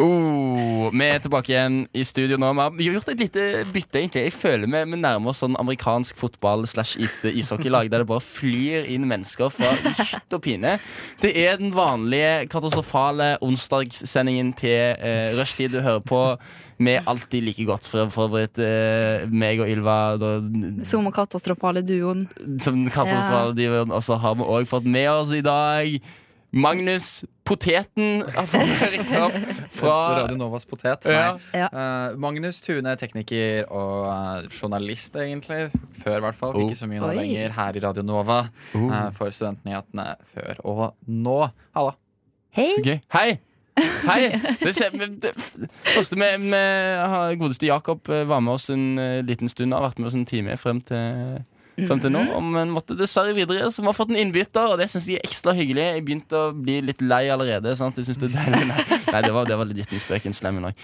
Oh, vi er tilbake igjen i studio nå. Vi har- Vi har gjort et lite bytte, egentlig. Jeg føler vi, vi nærmer oss sånn amerikansk fotball slash is- ishockeylag, der det bare flyr inn mennesker fra hytt og pine. Det er den vanlige katastrofale onsdagssendingen til eh, rushtid du hører på. Vi er alltid like godt for, for øvrig. Eh, meg og Ylva da,
Som og katastrofale duoen.
som katastrofaldiven. Og så har vi òg fått med oss i dag Magnus Poteten. har fått rykte opp Fra
Radio Novas potet.
Ja.
Nei. Eh, Magnus Tune, tekniker og eh, journalist, egentlig. Før, i hvert fall. Ikke så mye nå
Oi.
lenger her i Radio Nova. eh, for studentnyhetene før og nå. Halla.
Hei.
Så gøy. Hei! Hei! Det skjer, men det, første med, med har- Godeste Jakob eh, var med oss en eh, liten stund. Har vært med oss en time frem til, frem til nå.
Mhm.
og- Men måtte dessverre videre, så vi har fått en innbytter, og det syns jeg er ekstra hyggelig. Jeg begynte å bli litt lei allerede. Sant? Jeg synes det er deilig Nei, Nei, det var, det var litt en spøk, en slem en òg.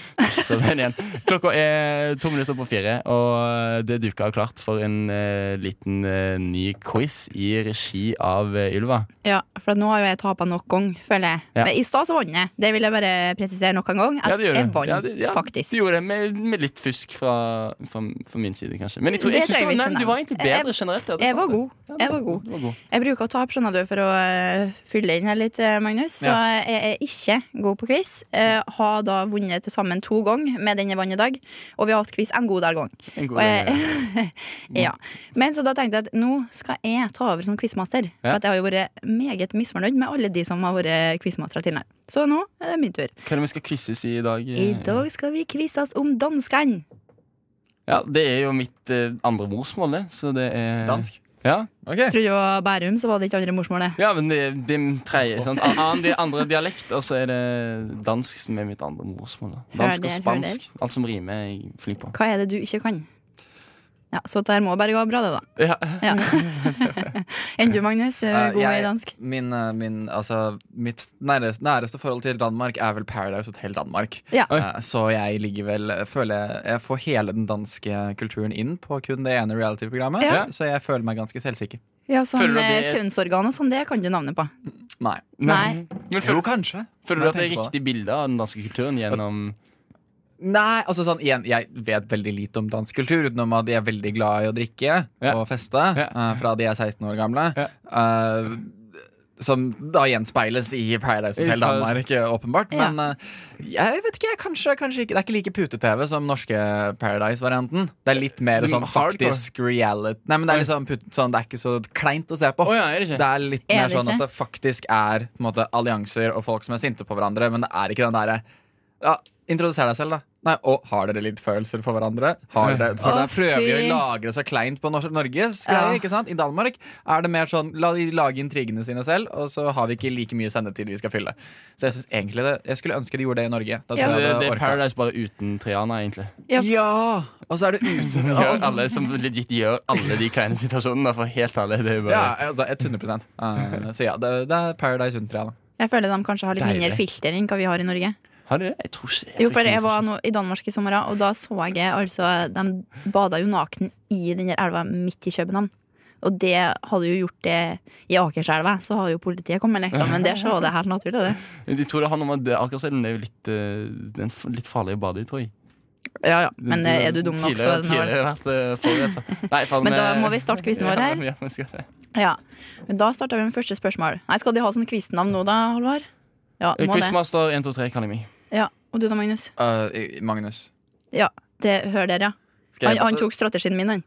Så den igjen. Klokka er to minutter på fire, og eh, det duka klart for en eh, liten eh, ny quiz i regi av eh, Ylva.
Ja, for nå har jo jeg tapa nok gang, føler jeg.
Ja.
Men i stad så vant jeg. Det vil jeg bare presisere nok en gang. At
Ja, det gjør
jeg
det.
vant,
Ja, det- ja,
faktisk.
Du gjorde det med, med litt fusk fra, fra, fra min side, kanskje. Men jeg, tror, jeg
Det
synes du,
trenger
var- nei,
vi ikke
du
nevne.
var egentlig bedre generelt. ja, det er
Jeg var
sant det.
god. Jeg var god.
Du var god.
Jeg bruker å tape, skjønner du, for å eh, fylle inn her litt, eh, Magnus. Så
Ja.
jeg er ikke god på quiz. Eh, har da vunnet til sammen to ganger med den jeg vant i dag. Og vi har hatt quiz en god del ganger.
En god eh,
Og jeg-
del,
ja. Men så da tenkte jeg at nå skal jeg ta over som quizmaster.
Ja.
For at jeg har jo vært meget misfornøyd med alle de som har vært quizmastere til meg. Så nå er det min tur.
Hva er det vi skal quizes i i dag? eh?
I dag skal vi quizes om danskene.
Ja, det er jo mitt eh, andre morsmål, det. Så det er
Dansk?
Ja.
Tror du det var Bærum, så var det ikke andre morsmålet.
Ja, men det er din tredje. Sant? An- Annen, det er andre dialekt, og så er det dansk som er mitt andre morsmål. Da.
Hør
Dansk
der,
og
hør
spansk. Alt som rimer, er jeg flink på.
Hva er det du ikke kan? Ja, Så det her må bare gå bra, det, da.
Ja.
Ja. Enn du, Magnus?
Eh,
God
jeg-
i dansk?
Min, eh, min, altså, mitt næreste, næreste forhold til Danmark er vel Paradise Hotel Danmark.
Ja. Oi.
Eh, så jeg ligger vel eh, føler jeg, jeg får hele den danske kulturen inn på kun det ene reality-programmet.
Ja.
Så jeg føler meg ganske selvsikker.
Ja, sånn
Føler du
eh,
det-
kjønnsorgan og sånn, det kan du navnet på.
Nei.
Nei.
Men
føler, jo, kanskje.
Føler
Når
du
jeg
at det er
tenker på
riktig bilde av den danske kulturen gjennom
Nei, altså sånn igjen, jeg vet veldig lite om dansk kultur, utenom at de er veldig glad i å drikke og feste eh, fra de er 16 år gamle. Eh, som da gjenspeiles i Paradise
I
Hotel Danmark,
Paradise-
åpenbart.
Ja.
Men eh, jeg vet ikke, jeg, kanskje, kanskje ikke. Det er ikke like pute-TV som norske Paradise-varianten. Det er litt mer
Det er
sånn
hardcore.
faktisk reality. Nei, men det er liksom put- sånn, det er ikke så kleint å se på.
det,
er litt
Er
mer
det
sånn
ikke?
at det faktisk er på en måte, allianser og folk som er sinte på hverandre, men det er ikke den derre ja, Introduser deg selv, da. Nei, og har dere litt følelser for hverandre? Har dere, for
Å,
Der prøver vi å
fy.
lage det så kleint på nor Norges greier.
Ja.
ikke sant? I Danmark er det mer sånn la de lage intrigene sine selv, og så har vi ikke like mye sendetid vi skal fylle. Så jeg synes egentlig det, jeg skulle ønske de gjorde det i Norge. Da
Så
tror jeg
det, det er
orket.
Paradise bare uten Triana, egentlig.
Ja. Og så er det uten
Gjør alle som legit gjør alle de kleine situasjonene, for helt ærlig. Det er jo bare
Ja, altså 100 Eh, Så ja, det, det er Paradise uten tre, da.
Jeg føler de kanskje har litt
Deilig.
mindre filter enn hva vi har i Norge.
Har du det? Jeg tror ikke det.
Jo, for jeg var nå i Danmark i sommer, og da så jeg altså De bada jo naken i den der elva midt i København. Og det hadde jo gjort det i Akerselva, så har jo politiet kommet, liksom. Men der så var det helt naturlig, det.
De tror det handler om at det- Akerselven er jo litt, eh, det er en f- litt farlig å bade i, tror jeg.
Ja, ja. Men, eh, er du dum nok, så
tidligere,
er den
Tidligere
hard.
vært eh, forurensa. Nei, faen,
Men da
eh,
må vi starte quizen vår her.
Ja, vi skal det.
Ja. Men da starta vi med første spørsmål. Nei, skal de ha sånn quiznavn nå, da, Halvard? Ja,
Eh,
må det.
Quizmaster 123 kaller jeg meg.
Ja. Og du da, Magnus?
Eh, Magnus.
Ja, det hører dere, ja.
Skal jeg-
Han, han tok strategien min, han.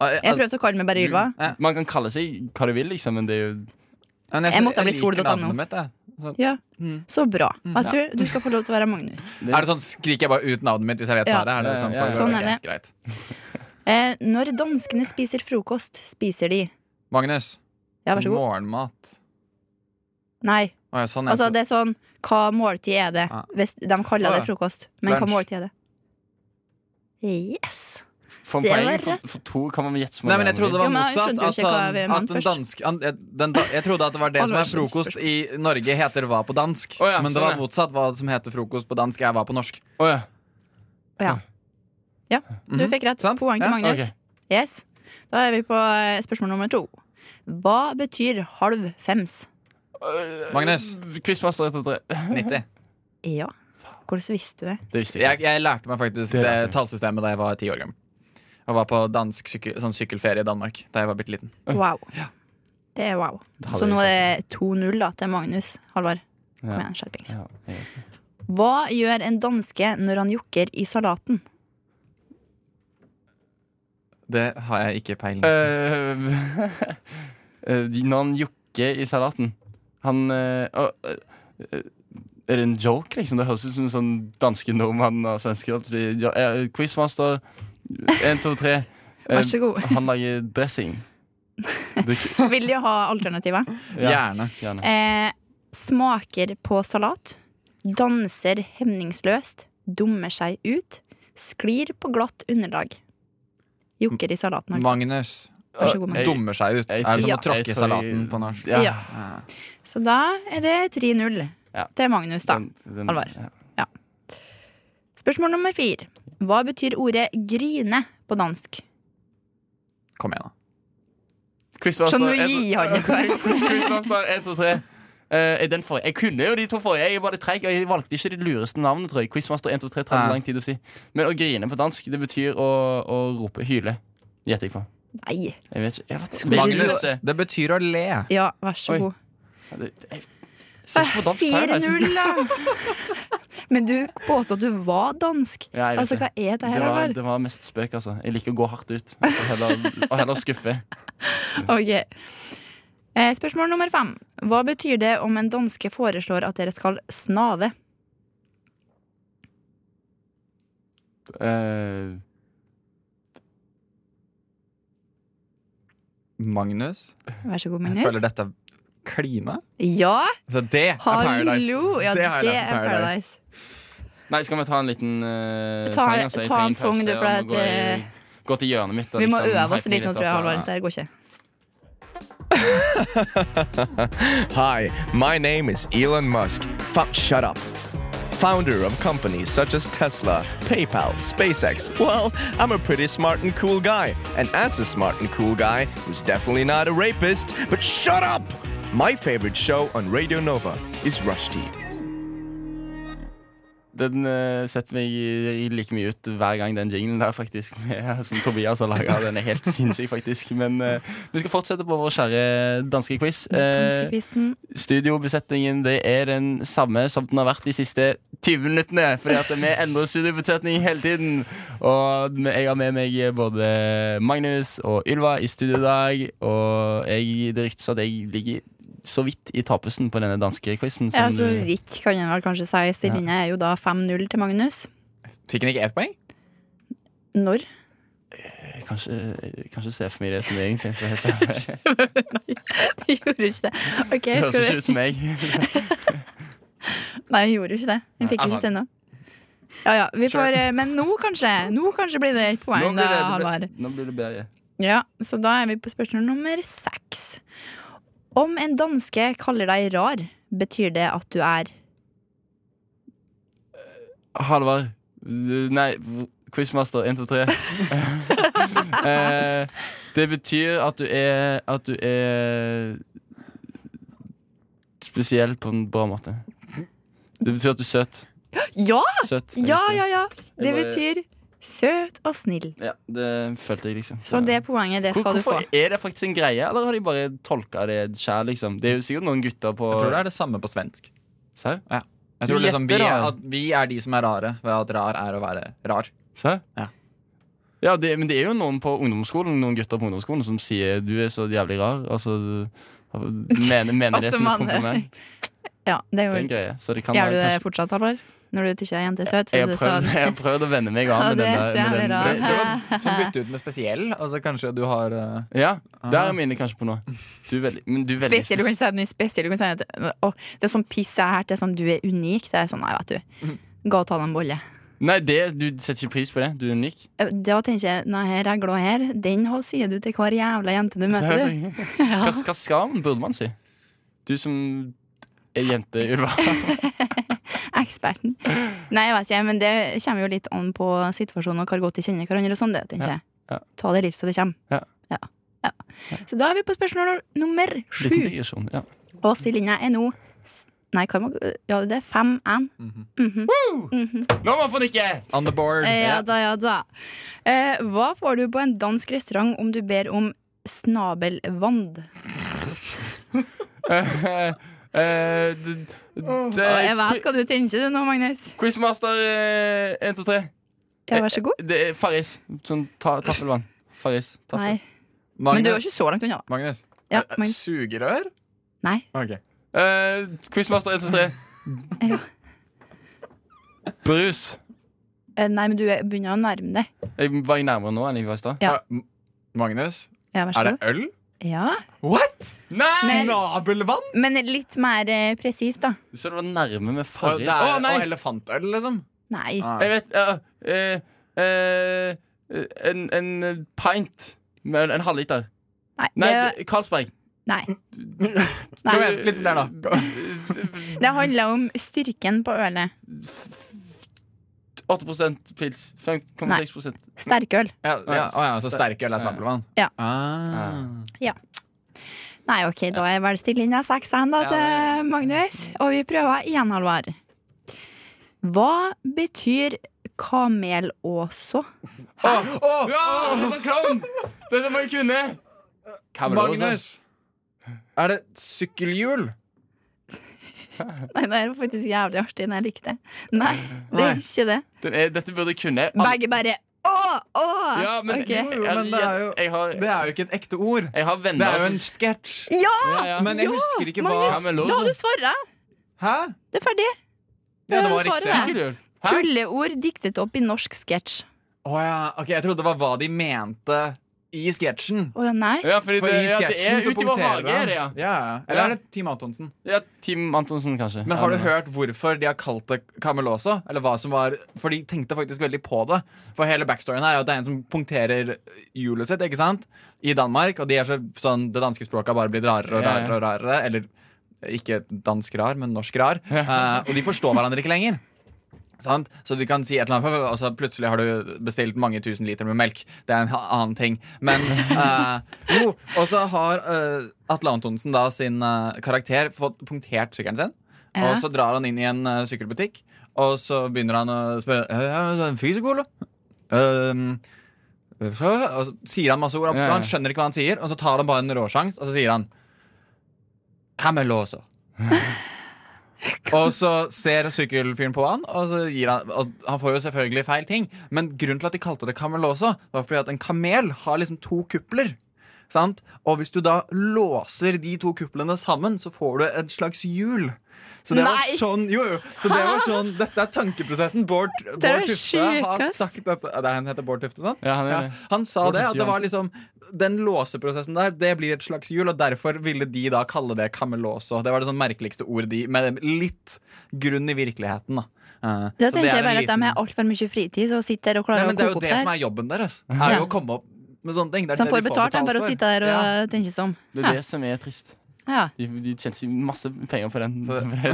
Eh,
Jeg prøvde å kalle meg bare Ylva.
Man kan kalle seg hva du vil, liksom, men det er jo
jeg- Jeg måtte jeg bli liker skole.no. navnet mitt, Ja.
Mm.
Så bra.
Mm,
Vet
Ja.
du, du skal få lov til å være Magnus.
Er det sånn, Skriker jeg bare ut navnet mitt hvis jeg vet
Ja.
svaret? Er det sånn,
Ja, ja, ja. Sånn er
Ok, Greit.
Eh, når danskene spiser frokost, spiser de
Magnus.
Ja, vær så god.
Morgenmat.
Nei,
Å ja, sånn, ja.
Altså det er sånn, hva måltid er det? Hvis de
Å,
kaller
ja.
det frokost, men hva
Lunsj.
måltid er det? Yes.
For
Det
poeng,
var
for, for to kan man gjette så
Nei,
mange
men jeg trodde det var
Jo, men jeg
motsatt.
skjønte jo
At,
ikke hva
sånn,
vi
at
mente
den
først.
danske an, den, da- Jeg trodde at det var det som er
Halvveis
frokost i Norge, heter hva på dansk.
ja,
men det
sånn,
var
ja.
motsatt. Hva som heter frokost på dansk, er hva på norsk.
Ja. ja. Du fikk rett. Poeng til
Mhm. Ja,
Magnus.
ok.
Yes. Da er vi på eh, spørsmål nummer to. Hva betyr halv fems?
Magnus.
Quizmaster
90.
Ja. Hvordan visste du det?
Det visste
jeg, jeg lærte meg faktisk
Det
det
lærte du.
tallsystemet da jeg var ti år gammel. Jeg var på dansk syke, sånn sykkelferie i Danmark da jeg var bitte liten.
Wow. Det er wow.
Det hadde
Så
jeg
nå er det 2-0 da til Magnus. Halvard. Kom igjen, skjerpings. Hva gjør en danske når han jokker i salaten?
Det har jeg ikke peiling på.
Eh, eh, Når han jokker i salaten Han eh, å, eh, eh, Er det en joke, liksom? Det høres ut som en sånn danske nordmann og svensker. at vi- ja, eh, Quizmaster, én, to, tre. Eh,
Vær så god.
Han lager dressing. Det,
Vil de ha alternativer?
Gjerne.
Eh, smaker på salat. Danser hemningsløst. Dummer seg ut. Sklir på glatt underlag. Jokker i salaten, altså.
Magnus
Vær så
Eh,
god, Magnus.
dummer seg ut.
Jeg-
er det som
Ja.
å tråkke
jeg
i
tror-
salaten på norsk?
Ja.
Så da er det 3-0
Ja.
til Magnus, da.
den-
Halvard.
ja.
Ja. Spørsmål nummer fire. Hva betyr ordet 'grine' på dansk?
Kom igjen, da.
Quizmaster,
Så nå
en-
gir han det bare.
Quizmaster 1, 2, 3. Eh, den forrige. Jeg kunne jo de to forrige. Jeg var litt treig, og jeg valgte ikke det lureste navnet. tror jeg Quizmaster 1, 2, 3 tar
Ja.
det lang tid å si. Men å grine på dansk, det betyr å, å rope hyle. Gjetter jeg på.
Nei.
Jeg vet ikke. Jeg vet,
Skulle du-
Magnus, det-
Det betyr å le.
Ja, vær så
Oi.
god.
Ja, det- jeg- Ses på Dansk altså. Paradise.
4-0, da! Men du påstod at du var dansk.
Ja, jeg vet
altså, hva er det her?
Det var,
Halvard?
det var mest spøk, altså. Jeg liker å gå hardt ut. Altså, heller, og heller skuffe.
Ok. Eh, Spørsmål nummer fem. Hva betyr det om en danske foreslår at dere skal snave?
Eh,
Magnus?
Vær så god,
Jeg føler
Magnus.
dette er klina.
Ja!
Så det er Paradise.
Hallo! Ja, det
har jeg lært på
er Paradise.
Nei, skal vi ta en liten eh,
Ta-
sang? Altså? Jeg
ta
trenger
en sang,
pause,
du, for
og
at, eh,
må gå, i- gå til hjørnet mitt. og
Vi må
liksom
øve oss
hype meg
litt nå, tror jeg.
opp, og-
Halvard. Det går ikke.
Hi, my name is Elon Musk. Fu- shut up. Founder of companies such as Tesla, PayPal, SpaceX. Well, I'm a pretty smart and cool guy. And as a smart and cool guy, who's definitely not a rapist, but shut up! My favorite show on Radio Nova is Rushdie.
Den eh, setter meg i- i like mye ut hver gang den jinglen der, faktisk. med- Som Tobias har laga. Den er helt sinnssyk, faktisk. Men eh, vi skal fortsette på vår kjære danske quiz. Eh,
Danskekvisten.
studiobesetningen det er den samme som den har vært de siste 20 minuttene. Fordi at vi endrer studiobesetning hele tiden. Og jeg har med meg både Magnus og Ylva i studio i dag. Og jeg, det ryktes at jeg ligger så vidt i tapersen på denne danske quizen.
Ja, så vidt kan en vel kanskje si. Stillinga er jo da 5-0 til Magnus.
Fikk han ikke ett poeng?
Når?
Kanskje, kanskje se for meg det som det egentlig for å være helt ærlig.
Det gjorde ikke det. Ok,
Det høres
skal vi-
ikke ut som meg.
Nei, hun gjorde jo ikke det.
Nei,
Hun fikk ikke
altså-
til noe. Ja, ja, vi
Sure.
får, eh, men nå kanskje Nå kanskje blir det et poeng, da, Halvard.
nå blir det bedre.
Ja, så da er vi på spørsmål nummer seks. Om en danske kaller deg rar, betyr det at du er
Halvard. Nei, quizmaster 1, 2, 3. eh, det betyr at du er At du er spesiell på en bra måte. Det betyr at du er søt.
Ja!
Søt, jeg
ja,
visste det.
ja, ja. Det
Jeg bare-
betyr søt og snill.
Ja, det følte jeg, liksom.
Så det poenget, det skal du få.
Hvorfor Er det faktisk en greie, eller har de bare tolka det sjæl? Liksom? Det er jo sikkert noen gutter på
Jeg tror det er det samme på svensk.
Serr?
Ja. Jeg
Du
tror liksom vi,
gjetter, da.
at vi er de som er rare, ved at rar er å være rar.
Serr?
Ja.
Ja, det, men det er jo noen på ungdomsskolen Noen gutter på ungdomsskolen som sier du er så jævlig rar. Altså, mener, mener det
Altså,
som
man-
et kompliment.
Ja,
Det
det er
er en
jo
greie. Så det kan
Gjør
være
du det
kanskje-
fortsatt, Halvard? når du ikke er jente søt. så
Jeg har
er det
prøvd,
sånn.
jeg har prøvd å venne meg av med
Ja, det
denne.
ser jeg
Med
bra.
den.
Som bytte ut med spesiell. Altså Kanskje du har eh,
Ja, der er mine kanskje på nå. Du er veldig, men du er veldig
Spesielt, du kan si at den er spesiell. Du kan si at å, det er sånn piss jeg har hørt. Det er sånn du er unik. Det er sånn, nei, vet
Mm.
du. Gå og ta deg en bolle. Eh,
Nei, det, du setter ikke pris på det. Du er unik.
Da tenker jeg denne regla her, den har- sier du til hver jævla jente du
Så jeg
møter, du.
tenker, Hva, hva skal man, burde man si? Du som er jente, Ylva.
Eksperten. Nei, jeg vet ikke, men det kommer jo litt an på situasjonen og hvor godt de kjenner hverandre og sånn, det tenker jeg. Ta det litt så det kommer. Ja. Ja. Så da er vi på spørsmål nummer
Liten
sju.
digresjon. Ja.
Og stillinga er nå s- Nei, hva må Ja, det er 5-1. Mhm.
Nå
Mhm.
må man få nikke!
On the board.
Eh, Ja da, ja da. Eh, hva får du på en dansk restaurant om du ber om snabelvand?
Eh, eh, d- d-
Å, jeg vet hva du tenker du nå, Magnus.
Quizmaster eh, 1, 2, 3.
Ja, vær så god.
Eh, Det er Farris. Sånn ta, taffelvann. Farris. Taffel.
Nei. Men du var ikke så langt unna, da.
Magnus.
Ja,
Eh,
Magnus.
Sugerør?
Nei.
Ok.
Eh, quizmaster 1, 2, 3. Brus.
Eh, nei, men du er- begynner å nærme deg.
Jeg var jeg nærmere nå enn jeg var i stad?
Ja.
Magnus,
Ja, vær så god.
øl?
Ja.
What?!
Men-
Snabelvann?!
Men litt mer eh, presis, da.
Du sa det var nærme med
Og,
Farris.
det er,
Å, nei!
og elefantøl, liksom.
Nei.
Ah.
Jeg vet ja, eh, eh, en, en pint med en, en halvliter.
Nei,
Nei
det-
det- Carlsberg.
Nei.
Kom igjen, litt flere, da.
Det handler om styrken på ølet.
8 pils. 5,6
Sterkøl.
Ja, ja, å ja, så sterk øl er snabelvann?
Ja.
Ah.
Ja. Nei, OK, da er vel stillinga 6-1 da til Magnus. Og vi prøver igjen, Halvard. Hva betyr kamelåså?
Åh, åh, ja, det er sånn klovn! Dette må jeg kunne.
Magnus! Er det sykkelhjul?
Nei, det er faktisk jævlig artig, men jeg likte det. Nei, det er ikke det.
Den er, dette burde jeg kunne. Alle-
Begge bare å, å!
Ja, men,
Ok.
jeg, jeg, jeg har,
Det er jo ikke et ekte ord.
jeg har venner
Det er jo
som-
en sketsj.
Ja!
Ja, ja.
Men jeg husker ikke hva
Magnus, da har du svaret!
Hæ?
Det er ferdig.
Ja, det var
Svaret
riktig.
er-
Sykkelhjul. Hæ?
Tulleord diktet opp i norsk sketsj.
Å ja. Ok, jeg trodde det var hva de mente i sketsjen.
Å ja, nei.
Ja, fordi
For
det,
i
ja, det
sketsjen
er
så
ute i vår
punkterer
hage, er det, ja.
han. ja. ja. Eller er det Team Antonsen?
Ja, Team Antonsen, kanskje.
Men har
Ja,
du hørt hvorfor de har kalt det Kamelåsa? Eller hva som var For de tenkte faktisk veldig på det. For hele backstoryen her er at det er en som punkterer hjulet sitt ikke sant? i Danmark. Og de er så, sånn, det danske språket har bare blitt rarere og
Ja, ja.
rarere. og rarere Eller ikke dansk rar, men norsk rar. Eh, og de forstår hverandre ikke lenger. Sant? Så du kan si et eller annet, og så plutselig har du bestilt mange tusen liter med melk. Det er en ha- annen ting. Men eh, jo, og så har eh, Atle Antonsen da sin eh, karakter fått punktert sykkelen sin.
Ja.
Og så drar han inn i en eh, sykkelbutikk, og så begynner han å spørre «Eh, eh, Fysikol, da?» «Ehm, så, og så sier han masse ord, og
Ja, ja.
han skjønner ikke hva han sier, og så tar han bare en råsjans, og så sier han Kamelåsa. Og så ser sykkelfyren på han, og, så gir han, og han får jo selvfølgelig feil ting. Men grunnen til at de kalte det kamel også, var fordi at en kamel har liksom to kupler. Sant? Og hvis du da låser de to kuplene sammen, så får du et slags hjul. Så det var
Nei!
sånn, jo, jo. Så det var sånn Dette er tankeprosessen. Bård, Bård
Det er det
Tufte har
sjukest.
sagt dette. Det er han heter Bård Tufte, sant?
Ja, han er det.
han sa
Bård
det,
Tufte
at det var liksom Den låseprosessen der, det blir et slags hjul, og derfor ville de da kalle det kammelåse. Det var det sånn merkeligste ordet de Med litt grunn i virkeligheten, da. Eh,
Da
så
tenker
er
jeg
en
bare at
liten-
de har altfor mye fritid, så sitter der og
Nei,
klarer
men det
å
er jo
koke
det som
opp
er
der.
jobben deres. Er jo å komme opp med sånne ting. Det er
Så
det
han får
de
betalt, han bare
for.
sitter der og
Ja.
tenker sånn.
Det er det som er trist.
Ja.
De, de tjente seg masse penger på den. på det-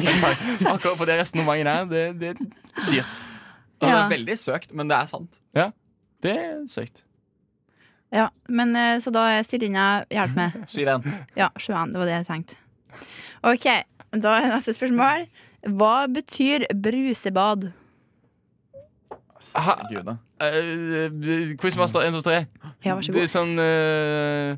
Akkurat på det resonnementet her. Det, det er dyrt.
Altså, Det er veldig søkt, men det er sant.
Ja, det er søkt.
Ja, men eh, Så da er stillinga Hjelp meg.
7-1.
Ja, 7-1. Det var det jeg tenkte. OK, da er neste spørsmål. Hva betyr brusebad?
Gud, da.
Eh, Quizmaster 1, 2, 3.
Ja, vær så
Det
god.
er sånn eh,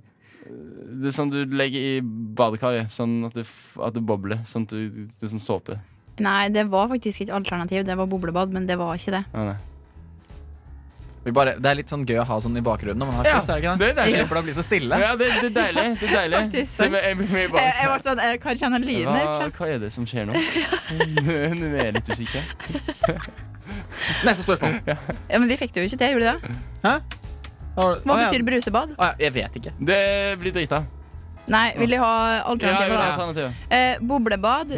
Det er sånn du legger i badekaret, sånn at det, f- at det bobler. Sånn at du, det er sånn såpe.
Nei, det var faktisk ikke alternativ. Det var boblebad, men det var ikke det.
Ja, nei.
Vi bare, det er litt sånn gøy å ha sånn i bakgrunnen når man har
Ja,
quiz. er det ikke
det er deilig.
Slipper det å bli så stille.
Ja, det, det er deilig. Det er deilig.
Faktisk.
Det, jeg, jeg, jeg,
Jeg, jeg ble sånn, jeg kan kjenne lyden
hva,
her.
hva er det som skjer nå? Nå er jeg litt usikker.
Neste spørsmål.
Ja, Men de fikk det jo ikke til, gjorde de det?
Hva
Hva betyr brusebad?
Å, ja, jeg vet ikke.
Det blir drita.
Nei, vil de ha
Ja, jeg vil ha
alternativet?
alternativet.
da? Eh, boblebad,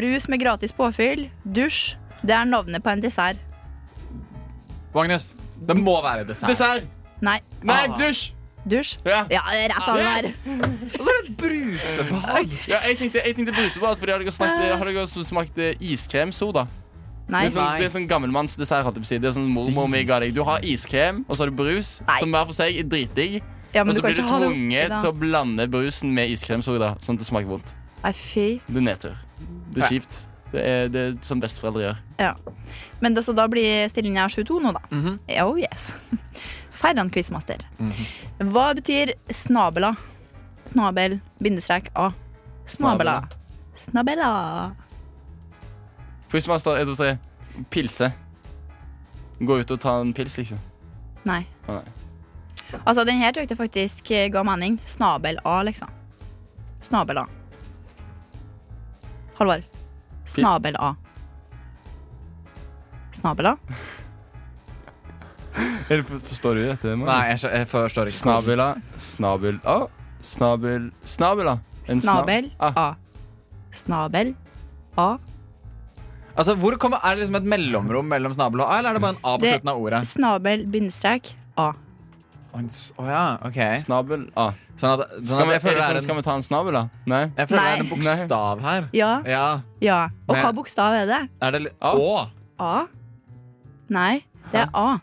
brus med gratis påfyll, dusj. Det er navnet på en dessert.
Magnus, det må være dessert.
Dessert!
Nei.
Nei,
Ah.
dusj!
Dusj?
Ja,
det er rett av den der.
Og så er det brusebad. Ja, jeg tenkte, jeg tenkte brusebad, fordi har dere,
Ah.
snakket, har dere også smakt eh, iskremsoda?
Nei.
Det er sånn, det er sånn gammelmannsdessert. holdt jeg på å si. Det er sånn mormor mi ga deg. Du har iskrem, og så har du brus, som hver for seg er dritdigg.
Ja,
og
men du
så
kan
blir du
ikke ha det oppi
tvunget
da.
til å blande brusen med iskremsoda, sånn at det smaker vondt.
Nei, fy.
Det er nedtur. Det
Ja.
er kjipt. Det er, det er som besteforeldre gjør.
Ja. Men det, så da blir stillinga 7-2 nå, da.
Mhm.
Ja, Oh yes. Feiran quizmaster. Hva betyr snabela? Snabel, bindestrek A. Snabela. Snabela.
Quizmaster 1, 2, 3. Pilse. Gå ut og ta en pils, liksom.
Nei.
Å, nei.
Altså, den her tror jeg det faktisk eh, ga mening. Snabel A, liksom. Snabel A. Halvor. Snabel A. Snabel A?
Eller for- forstår du dette? Magnus?
Nei, jeg skjø- jeg forstår ikke.
Snabela, snabel A, snabel Snabela. En sna- Ah,
Snabel A. Snabel A.
Altså, hvor kommer, Er det liksom et mellomrom mellom snabel og a, eller er det bare en a på
Det-
slutten av ordet?
Snabel, bindestrek A.
Å en s- å ja, ok
Snabel A.
Sånn at, sånn
Skal
at
vi,
jeg føler det er en,
skal vi ta en snabel, da? Nei.
jeg føler det er en
Nei.
bokstav her.
Ja.
Ja.
Ja. Og
Men-
hva bokstav er det?
Er det li- Å!
A? Nei, det er A.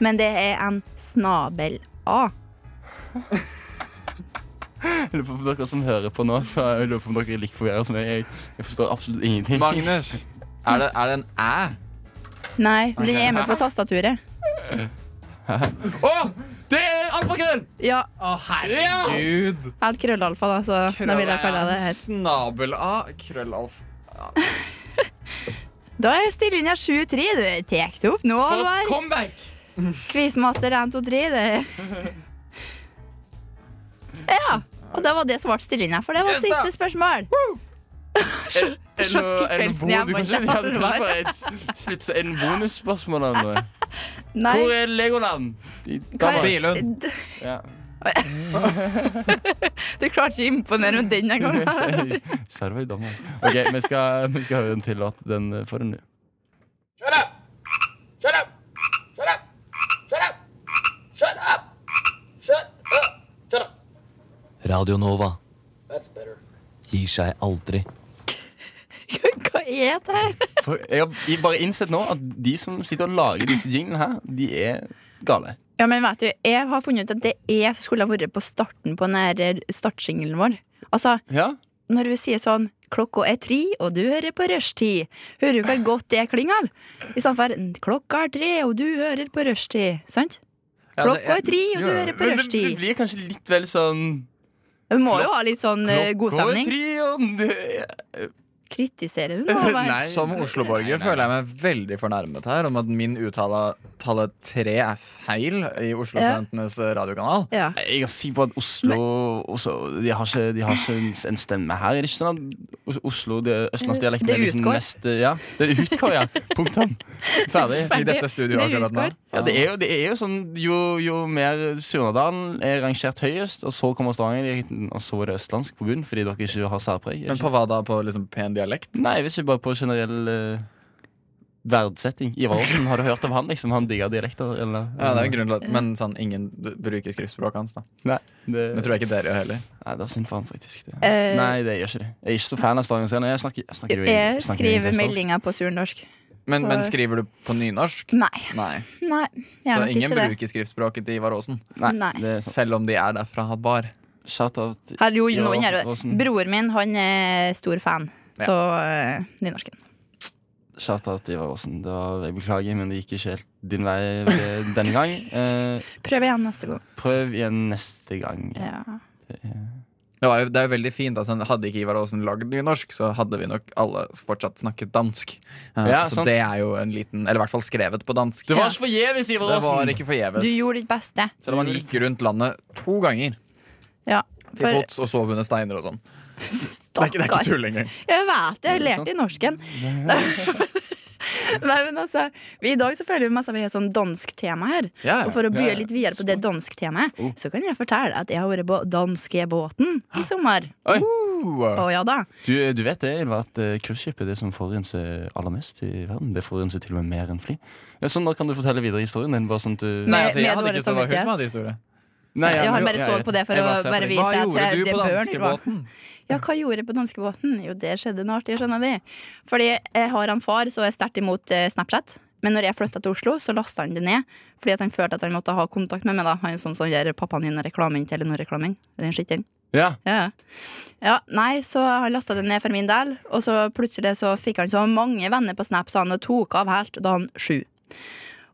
Men det er en snabel-A.
Jeg lurer på om dere som hører på nå, så jeg lurer på om dere er like forvirra som meg. Jeg, jeg forstår absolutt ingenting.
Magnus, er det, er det en æ?
Nei,
Ok.
den er med på tastaturet.
Å! Det er alfakrøll!
Ja.
Å, herregud!
Helt krøllalfa, da, så da vil jeg kalle det her.
Snabel-a, krøllalf.
Da er stillinga 7-3. Du tar det opp nå,
For et
Alvar.
comeback!
Quizmaster 1, 2, 3. Det. Ja. Og det var det som ble stillinga, for det var
Yes, da.
siste spørsmål.
Er- er det noe- er det noe
Slåsskikkelsen
bo-
jeg
du kan
vant,
ikke- ja,
det
du
var.
kan ikke bare s- slippe seg en bonusspørsmål eller noe?
Nei.
Hvor er Legoland? I Danmark.
Bilund.
Ja.
Du klarte ikke å imponere med den engang.
Sa det var i Danmark. OK, vi skal, vi skal høre en til låt. Den eh, får du nå.
Shut up! Shut up! Shut up! Shut up! Shut up! Shut up!
Radio Nova
That's better.
gir seg aldri.
Hva er det her?
For jeg har jeg bare innsett nå at de som sitter og lager disse jinglene her, de er gale.
Ja, men vet du, jeg har funnet ut at det er jeg som skulle ha vært på starten på den her eh, startsingelen vår. Altså,
Ja?
når vi sier sånn Klokka er tre, og du hører på rushtid. Hører du hvor godt det klinger? Istedenfor klokka er tre, og du hører på rushtid. Sant?
Ja, altså,
Klokka er tre, og du
ja.
hører på
Men det- Det
rushtid.
blir kanskje litt vel sånn
Du må jo ha litt sånn eh, god
Klokka er
stemning.
tre, og det-
Kritiserer du nå?
Nei,
Alvar?
som Oslo-borger føler jeg meg veldig fornærmet her om at min uttale tallet tre er feil i Oslo-studentenes radiokanal.
Ja.
Jeg kan si på at Oslo også, de, har ikke, de har ikke en- en stemme her. Er det ikke sånn at Os- Oslo, det østlandsdialekten,
Det
er liksom
utgår.
mest Ja, det utgår, ja. Punktum. Ferdig.
I dette studioet
Det
akkurat nå.
utgår. Ja, det er jo, det er jo sånn Jo, jo mer Surnadalen er rangert høyest, og så kommer Stavanger, dit, og så er det østlandsk på bunnen, fordi dere ikke har særpreg.
Men på hva da? På liksom pen dialekt?
Nei, hvis vi bare på generell eh, verdsetting. Ivar Aasen, har du hørt om han? liksom? Han digger dialekter, eller?
Ja, det
Mm.
er jo en grunn til at Men sånn, ingen b- bruker skriftspråket hans, da.
Nei, det,
Det tror jeg ikke dere gjør heller.
Nei, det er synd for han, faktisk. Det.
Eh,
Nei, det gjør ikke det. Jeg er ikke så fan av Stavanger Scene. Jeg snakker, jeg snakker jo egentlig-
Jeg
snakker jo egentlig
skriver
østlandsk.
meldinger på surnadorsk.
Men, men
Så-
skriver du på nynorsk?
Nei.
Nei.
Nei, jeg
Så
er nok
ingen
ikke det. Sånn.
bruker skriftspråket til Ivar Aasen?
Nei, Nei. det
Selv om de er derfra Hadbar.
Her, jo, noen gjør det. Broren min han er stor fan
Ja.
av eh, nynorsken.
Shout-out Ivar Aasen. Det var, jeg beklager, men det gikk ikke helt din vei ved denne gang. Eh,
Prøv igjen neste gang.
prøv igjen neste gang.
Ja.
Det, var jo, det er jo veldig fint. Altså, hadde ikke Ivar Aasen lagd nynorsk, så hadde vi nok alle fortsatt snakket dansk. Eh,
Ja,
så
sant.
det er jo en liten Eller i hvert fall skrevet på dansk.
Det var ikke forgjeves, Ivar
Det var
Aasen.
ikke forgjeves.
Du gjorde ditt beste.
Selv om han gikk rundt landet to ganger
Ja,
til
for-
fots og sov under steiner og sånn. Det er ikke, det er ikke tull engang.
Jeg vet det. Jeg har
Er det sant?
lært i norsken. Nei, men altså vi, I dag så føler vi masse at vi har sånn dansktema her.
Ja, ja.
Og for å
Ja,
bye
ja.
litt videre på det dansktemaet,
Oh.
så kan jeg fortelle at jeg har vært på danskebåten i sommer.
Oi.
Å ja da.
Du, du vet det, Ylva, at eh, cruiseskip er det som forurenser aller mest i verden. Det forurenser sånn til og med mer enn fly. Ja, sånn, Nå kan du fortelle videre historien din. Bare sånn at du
Nei, altså, jeg hadde ikke trodd det var hun som hadde historie.
Nei, ja,
jeg har
men-
bare
ja,
så
jeg-
på det for
jeg
å
bare ser på
bare
det.
vise
Hva
deg at
gjorde
jeg-
du
det
på
bør
danskebåten?
du ha. Ja, hva gjorde jeg på danskebåten? Jo, det skjedde noe artig, skjønner vi. Fordi jeg har en far så er jeg sterkt imot eh, Snapchat. Men når jeg flytta til Oslo, så lasta han det ned. Fordi at han følte at han måtte ha kontakt med meg. da Han er sånn som gjør pappaen din reklamen til Telenor-reklamen. Den skitten.
Ja.
Ja. ja, nei, så han lasta det ned for min del. Og så plutselig så fikk han så mange venner på Snap, så han tok av helt da han sju.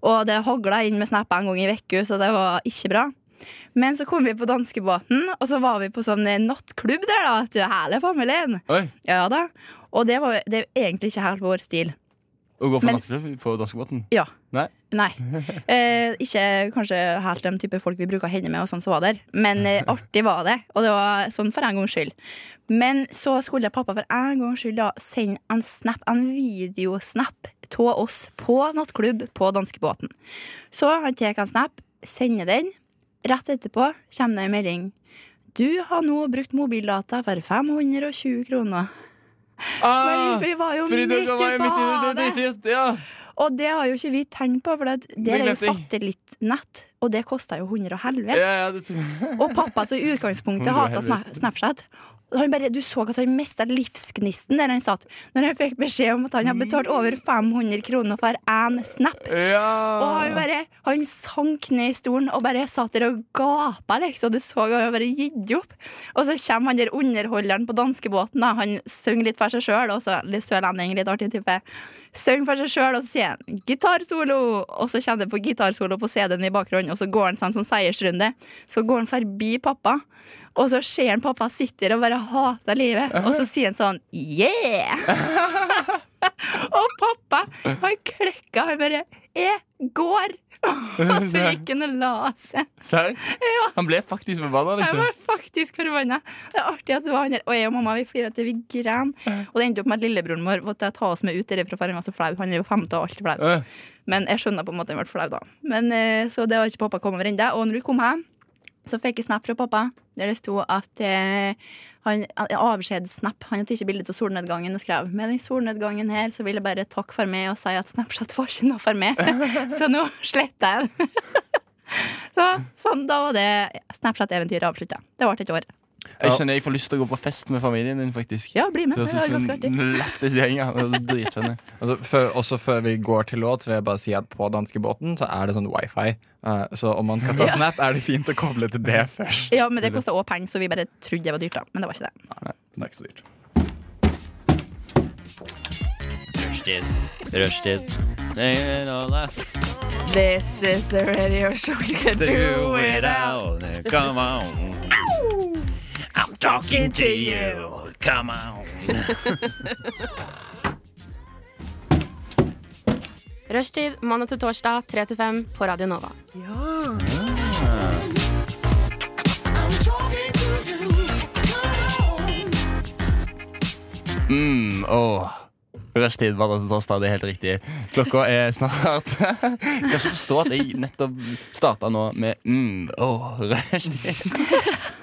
Og det hagla inn med Snap en gang i uka, så det var ikke bra. Men så kom vi på danskebåten, og så var vi på sånn eh, nattklubb der, da. Til hele familien.
Oi,
Ja da. Og det, var, det er jo egentlig ikke helt vår stil.
å gå på
Men-
nattklubb på danskebåten?
Ja.
Nei?
Nei. Eh, ikke kanskje helt den type folk vi bruker å henge med, og sånn som var der. Men eh, artig var det, og det var sånn for en gangs skyld. Men så skulle pappa for en gangs skyld da sende en snap, en videosnap av oss på nattklubb på danskebåten. Så han tar en snap, sender den. Rett etterpå kommer det en melding. Du har nå brukt mobildata for 520 kroner. Fordi vi var jo
Ah, fordi
midt
dere var jo
ute
midt
på
i det-
havet.
det- det- ja.
Og det har jo ikke vi tenkt på, for det, det er jo
Billetter.
satellittnett, og det kosta jo 100 og helvete.
Ja, ja, det
Og pappa som i utgangspunktet
100
hata
helvete.
Snapchat. Han bare, du så at han mista livsgnisten der han satt Når han fikk beskjed om at han
Mm.
hadde betalt over 500 kroner for én snap. Og han bare, han sank ned i stolen og bare satt der og gapa, liksom. Du så han bare gitt opp. Og så kommer han der underholderen på danskebåten, da. Han synger litt for seg sjøl, og så litt sørlending, litt artig type. Synger for seg sjøl, og så sier han 'gitarsolo', og så kommer det på gitarsolo på CD-en i bakgrunnen, og så går han sånn som seiersrunde. Så går han forbi pappa, og så ser han pappa sitter og bare hater livet, og så sier han sånn 'yeah'. og pappa, han klekka, han bare 'jeg går'. Og så gikk han og la seg.
Serr?
Ja.
Han ble faktisk bemanna,
Jeg
liksom.
var faktisk forbanna. Det er artig at det var han der. Og jeg og mamma vi flirte til vi gren. Og det endte opp med at lillebroren vår måtte ta oss med ut derifra, for han var så flau. Han er jo femte og alltid flau. Men jeg skjønner på en måte han ble flau, da. Men, eh, så det har ikke pappa kommet over ennå. Og når vi kom hjem, så fikk jeg snap fra pappa der det sto at eh, han, en avskjedssnap. Han hadde ikke bilde av solnedgangen og skrev med den solnedgangen her så vil jeg bare takke for meg og si at Snapchat var ikke noe for meg, så nå sletter jeg den. så, sånn, da var det Snapchat-eventyret avslutta. Det varte et år.
Jeg kjenner jeg får lyst til å gå på fest med familien din, faktisk.
Ja, bli med.
Det
Det
høres
er
ut som
ganske
en lættis gjeng. ja. Det er Dritfunny.
Altså, før, også før vi går til låt, så vil jeg bare si at på danskebåten så er det sånn wifi. Eh, så om man skal ta
Ja.
snap, er det fint å koble til det først.
Ja, men det kosta òg penger, så vi bare trodde det var dyrt, da. Men det var ikke det.
Nei, det er ikke så dyrt.
Rushtid. Rushtid.
This is the radio show you can do,
Do
it
it
out.
all. Come on. I'm talking to you. Come on.
Rushtid mandag til torsdag 3 til 5 på Radio Nova.
Mm, åh. Rushtid var det til torsdag, det er helt riktig. Klokka er snart Kan ikke forstå at jeg nettopp starta nå med mm, åh, rushtid.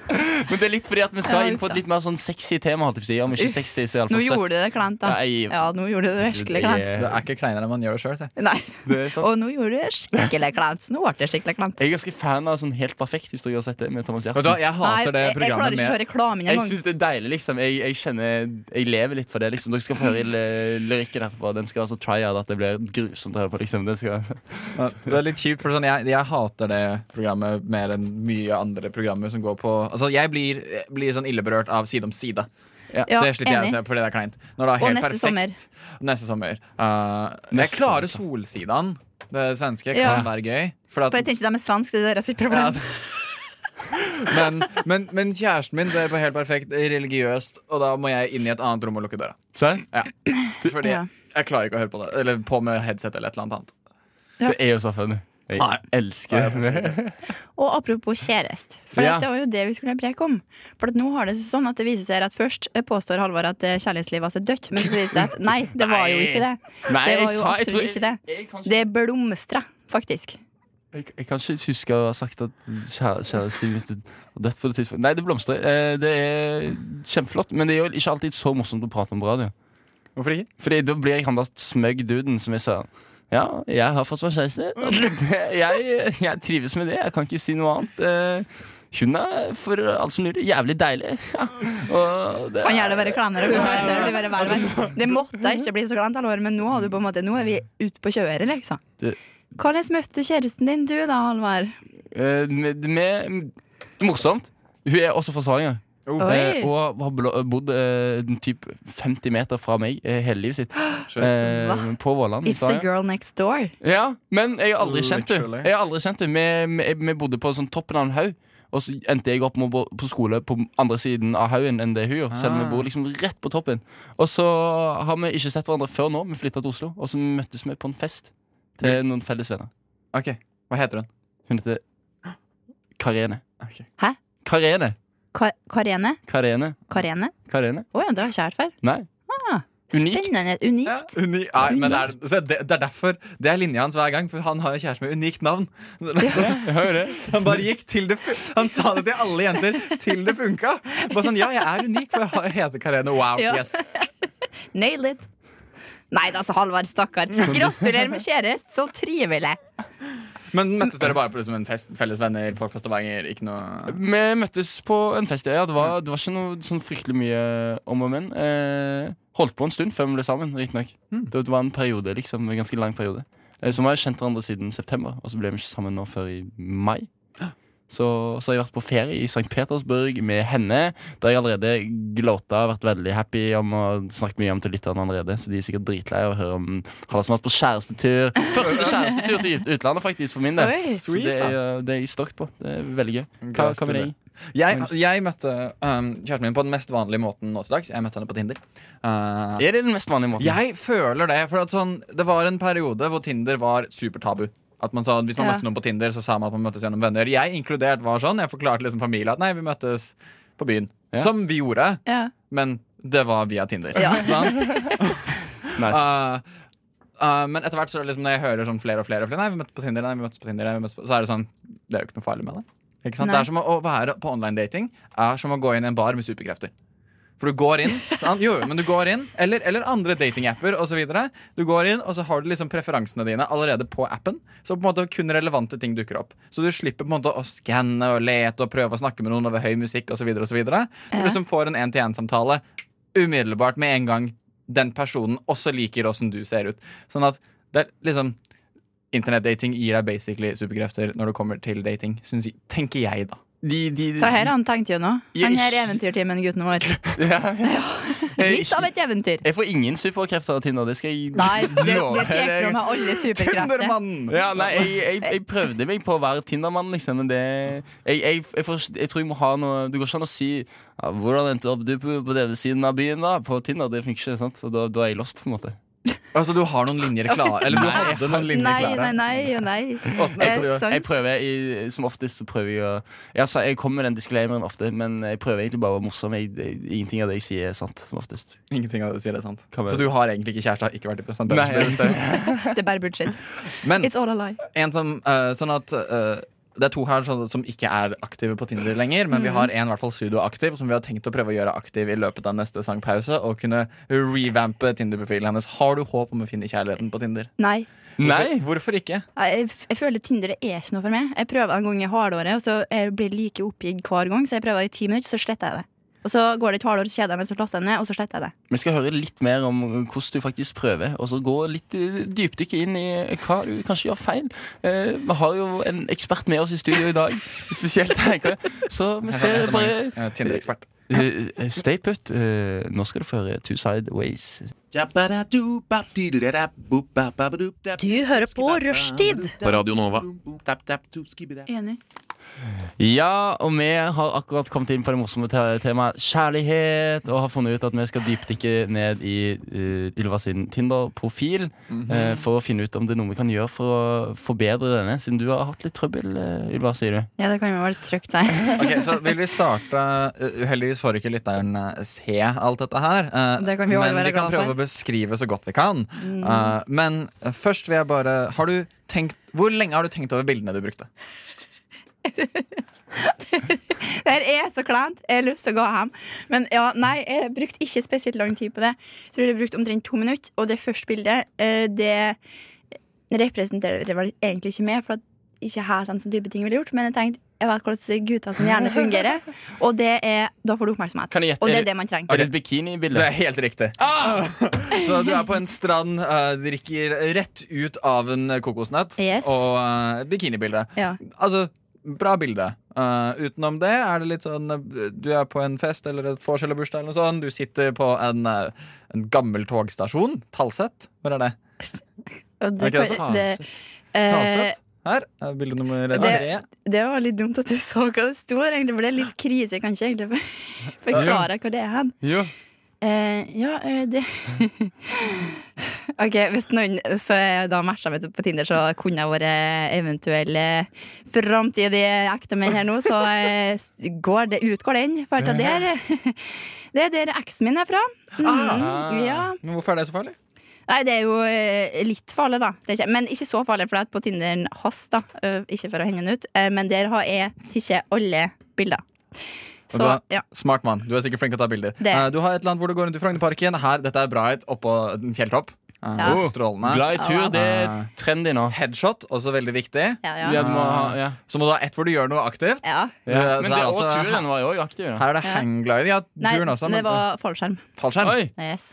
Men det er litt fordi at vi skal inn på et litt mer sånn sexy tema. holdt jeg på å si. Om ikke
Uff,
sexy, så
Nå
iallfall
gjorde du det kleint, da.
Ja, jeg-
Ja, nå gjorde du det virkelig kleint.
Det er ikke kleinere enn man gjør det sjøl, se.
Nei.
Det er sant.
Og nå gjorde du det skikkelig kleint. Så Nå ble det skikkelig kleint.
Jeg er ganske fan av sånn Helt perfekt, hvis dere har sett det med Thomas Giertsen.
Vet du hva, jeg hater
Nei, jeg- jeg klarer ikke å se reklamen
Jeg
engang.
syns det er deilig, liksom. Jeg, jeg kjenner Jeg lever litt for det, liksom. Dere skal få høre l- lyrikken etterpå. Den skal altså try out at det blir grusomt å høre på, liksom. Den skal
Ja, Det er litt kjipt, for sånn, jeg, jeg hater det programmet mer enn mye andre programmer som går på Altså, jeg blir, blir sånn illeberørt av Side om side.
Ja,
det sliter jeg
enig.
å se fordi det er kleint. Når det er
Og
helt
neste
perfekt.
sommer.
Neste sommer. Uh, jeg klarer Solsidan. Det svenske
altså. Ja.
kan være gøy. For
For jeg
at,
tenkte de er svenske, det er deres problem.
Men, men, men kjæresten min det var helt perfekt religiøst, og da må jeg inn i et annet rom og lukke døra.
Serr?
Ja. Fordi
Ja.
jeg klarer ikke å høre på det. Eller på med headset eller et eller annet annet.
Det er jo så funny. Jeg elsker det.
Og apropos kjæreste, for
Ja.
det var jo det vi skulle preke om. For at nå har det seg sånn at det viser seg at først påstår Halvard at eh, kjærlighetslivet hans er dødt, men så viser det seg at nei, det var jo
Nei.
ikke det.
Nei,
det
jeg
var jo
sa- jeg
absolutt
tror-
ikke det. Det blomstra, faktisk.
Jeg, jeg kan ikke huske å ha sagt at kjære- kjærestelivet mitt var dødt på det tidspunktet. Nei, det blomstrer. Eh, Det er kjempeflott, men det er jo ikke alltid så morsomt å prate om på radio.
Hvorfor ikke?
Fordi da blir jeg han der smøgg-duden som jeg sa. Ja, jeg har fått meg kjæreste. Jeg, jeg trives med det. Jeg kan ikke si noe annet. Eh, Hun er for alt som lurer jævlig deilig. Ja. Og det
Han gjør det bare kleinere. og kleinere, Det, blir bare verre og verre. det måtte ikke bli så kleint, Halvard, men nå, har du på en måte, nå er vi ute på kjøret, liksom.
Du-
Hvordan møtte du kjæresten din, du da, Halvard?
Eh, med, med, morsomt. Hun er også fra Stavanger.
Oh.
Eh,
Oi.
og har bl- bodd eh, typ 50 meter fra meg eh, hele livet sitt. Eh,
Hva?
på Våland. i
It's the
Stavanger.
girl next door.
Ja, men jeg har aldri kjent henne.
Literally.
Jeg har aldri kjent henne. Vi, vi, vi bodde på sånn toppen av en haug. Og så endte jeg opp med å bo på skole på andre siden av haugen enn det hun gjorde. Selv om vi
Ah.
bor liksom rett på toppen. Og så har vi ikke sett hverandre før nå. Vi flytta til Oslo, og så møttes vi på en fest til noen felles venner.
Ok, Hva heter hun?
Hun heter Karene.
Hæ?
Karene.
Ka- Karene?
Karene.
Karene?
Karene.
Å ja, det har ikke jeg hørt før.
Nei.
Ah, Spennende. Unikt.
Uni Nei, men det er, se, det, det er derfor Det er linja hans hver gang, for han har en kjæreste med unikt navn. Han bare gikk til det fu- Han sa det til alle jenter til det funka. Bare sånn, ja, jeg er unik, for jeg har- heter Karene. Wow,
Ja.
yes
Nail it. Nei da, altså, Halvard, stakkar. Gratulerer med kjæreste, så trivelig.
Men møttes dere bare på liksom en fest, felles venner, folk fra Stavanger? Ikke noe
Vi møttes på en fest. Ja, det, var, det var ikke noe sånn fryktelig mye om og men. Eh, holdt på en stund før vi ble sammen, riktignok. Det var en periode, liksom, en ganske lang periode. Eh, så vi har jo kjent hverandre siden september, og så ble vi ikke sammen nå før i mai. Så, så har jeg vært på ferie i St. Petersburg med henne. Der jeg allerede glåta vært veldig happy om og snakket mye om til lytterne allerede. Så de er sikkert dritlei av å høre om Har som har vært på kjærestetur. Første kjærestetur til ut- utlandet, faktisk, for min del.
Oi,
så
sweet,
det er,
da.
eh, det er jeg stolt på. Det er veldig gøy. Hva, hva med deg?
Jeg, jeg møtte um, kjæresten min på den mest vanlige måten nå til dags. Jeg møtte henne på Tinder. Eh,
er det den mest vanlige måten?
Jeg føler det. For at sånn, det var en periode hvor Tinder var supertabu. At man sa, Hvis man
Ja.
møtte noen på Tinder, så sa man at man møttes gjennom venner. Jeg inkludert var sånn. Jeg forklarte liksom familien at nei, vi møttes på byen. Som vi gjorde,
Ja.
men det var via Tinder.
Ja.
Sant? Uh, uh, men etter hvert så er det liksom, når jeg hører sånn flere og flere, og flere Nei, vi møttes på Tinder, nei, vi møttes på Tinder nei, vi møttes på, Så er det sånn, det er jo ikke noe farlig med det. Ikke sant?
Nei.
Det er som å, å være på online dating er som å gå inn i en bar med superkrefter. For du går inn, sant? jo, jo, men du går inn eller, eller andre datingapper osv. Du går inn, og så har du liksom preferansene dine allerede på appen. Så på en måte kun relevante ting dukker opp. Så du slipper på en måte å skanne og lete og prøve å snakke med noen over høy musikk osv. Du liksom får en én-til-én-samtale umiddelbart med en gang den personen også liker åssen du ser ut. Sånn at det er liksom Internettdating gir deg basically superkrefter når det kommer til dating, syns jeg. Tenker jeg, da.
Så her han tenkte jo nå. Han her
Yes.
eventyrtimen, gutten vår. Litt
Jeg,
av et eventyr.
jeg får ingen superkrefter av Tinder. Det skal jeg
Nei, det, det
love
tar
deg.
fra meg alle superkrefter.
Ja, nei, jeg, jeg, jeg prøvde meg på å være Tindermann, liksom, men det jeg, jeg, jeg, får, jeg tror jeg må ha noe Det går ikke an å si ja, 'Hvordan endte opp du på, på denne siden av byen?' da På Tinder. Det funker ikke. sant? Så da, da er jeg lost, på en måte.
Altså, du har noen linjer klare? Eller du hadde noen linjer
Nei,
klare?
nei, nei. nei.
Jeg
Eh,
prøver,
sant.
jeg prøver i, Som oftest så prøver jeg å jeg, sa- jeg kommer med den disclaimeren ofte, men jeg prøver egentlig bare å være morsom. Jeg, jeg, ingenting av det jeg sier, er sant. som oftest
Ingenting av det du sier, er sant.
Hva med
Så
det?
du har egentlig ikke kjæreste? Har ikke vært i prosent?
Nei, jeg-
Det er bare bullshit.
Men-
It's all a lie.
En som, eh, sånn at eh, Det er to her som, som ikke er aktive på Tinder lenger, men vi
Mhm.
har en i hvert fall pseudo-aktiv som vi har tenkt å prøve å gjøre aktiv i løpet av neste sangpause. Og kunne revampe Tinder-profilen hennes. Har du håp om å finne kjærligheten på Tinder?
Nei.
Hvorfor, hvorfor ikke?
Jeg, jeg føler Tinder er ikke noe for meg. Jeg prøver en gang i halvåret, og så jeg blir like oppgitt hver gang. Så jeg prøver i ti minutter, så sletter jeg det. Og så går det et halvår, så kjeder jeg meg, så laster jeg ned, og så sletter jeg det.
Vi skal høre litt mer om hvordan du faktisk prøver, og så gå litt eh, dypdykke inn i hva du kanskje gjør feil. Eh, vi har jo en ekspert med oss i studio i dag, spesielt tenker jeg. Så vi ser bare
Eh, Tinder-ekspert.
Eh, eh, Stay put. Eh, nå skal du få høre Two Side Ways.
Du hører på Rushtid.
På Radio Nova.
Enig.
Ja, og vi har akkurat kommet inn på det morsomme te- temaet kjærlighet, og har funnet ut at vi skal dypdykke ned i eh, Ylva sin Tinder-profil
Mhm.
eh, for å finne ut om det er noe vi kan gjøre for å forbedre denne, siden du har hatt litt trøbbel, eh, Ylva, sier du.
Ja, det kan jo være trygt, sier
Ok, så vil vi starte uh, Uheldigvis får ikke lytteren uh, se alt dette her. uh,
Det kan vi jo alle
men
være
vi kan
glad for.
prøve å beskrive så godt vi kan.
Mm.
Uh, men uh, først vil jeg bare Har du tenkt Hvor lenge har du tenkt over bildene du brukte?
Det her er så kleint. Jeg har lyst til å gå hjem. Men ja, nei, jeg brukte ikke spesielt lang tid på det. Jeg tror jeg brukte omtrent to minutter. Og det første bildet, eh, det representerer det vel egentlig ikke meg, for at ikke her sånn så dype ting ville gjort. Men jeg tenkte jeg vet hvordan gutter som hjerne fungerer, og det er, da får du oppmerksomhet.
Kan jeg gjette?
Og det er det man trenger.
Er det et bikinibilde?
Det er helt riktig. Så du er på en strand, uh, drikker rett ut av en kokosnøtt
Yes.
og uh, bikinibilde.
Ja.
Altså, bra bilde. Uh, utenom det er det litt sånn uh, Du er på en fest eller et vors eller bursdag eller noe sånt. Du sitter på en, uh, en gammel togstasjon. Talset. Hvor er det?
Og
Er
det,
ikke
altså,
det
kan-
så-
det, eh,
Talset. Her er bilde nummer tre.
det, det var litt dumt at du så hva det sto her, egentlig, for det er litt krise. Jeg kan ikke egentlig for- forklare hva det er hen.
Jo.
Eh, ja, eh, det Ok, hvis noen Så jeg da matcha meg på Tinder, så kunne jeg vært eh, eventuelle framtidige ektemenn her nå, så eh, s- går det, utgår den. For at det er Det er der eksen min er fra.
Ah.
Mhm, ja.
Men hvorfor er det så farlig?
Nei, det er jo eh, litt farlig, da. Det er ikke, men ikke så farlig, for det er på Tinderen hans, da. Eh, ikke for å henge den ut. Eh, men der har jeg ikke alle bilder.
Og
Så,
du er,
ja.
Smart mann. Du er sikkert flink til å ta bilder.
Det.
Eh, du har et land hvor du går rundt i Frognerparken. Her, dette er bra ut oppå en fjelltopp. Eh,
Ja.
oh, Strålende.
Glad i tur, det er
Eh,
trendy nå.
Headshot, også veldig viktig.
Ja, ja.
Ja, du må ha- ja.
Så må du ha ett hvor du gjør noe aktivt.
Ja.
Ja. Men det er også
altså-
turen var jo også aktiv. da.
Her er det
Ja.
hanggliding. Ja,
Nei,
turen også.
det var fallskjerm.
fallskjerm.
Oi.
Yes.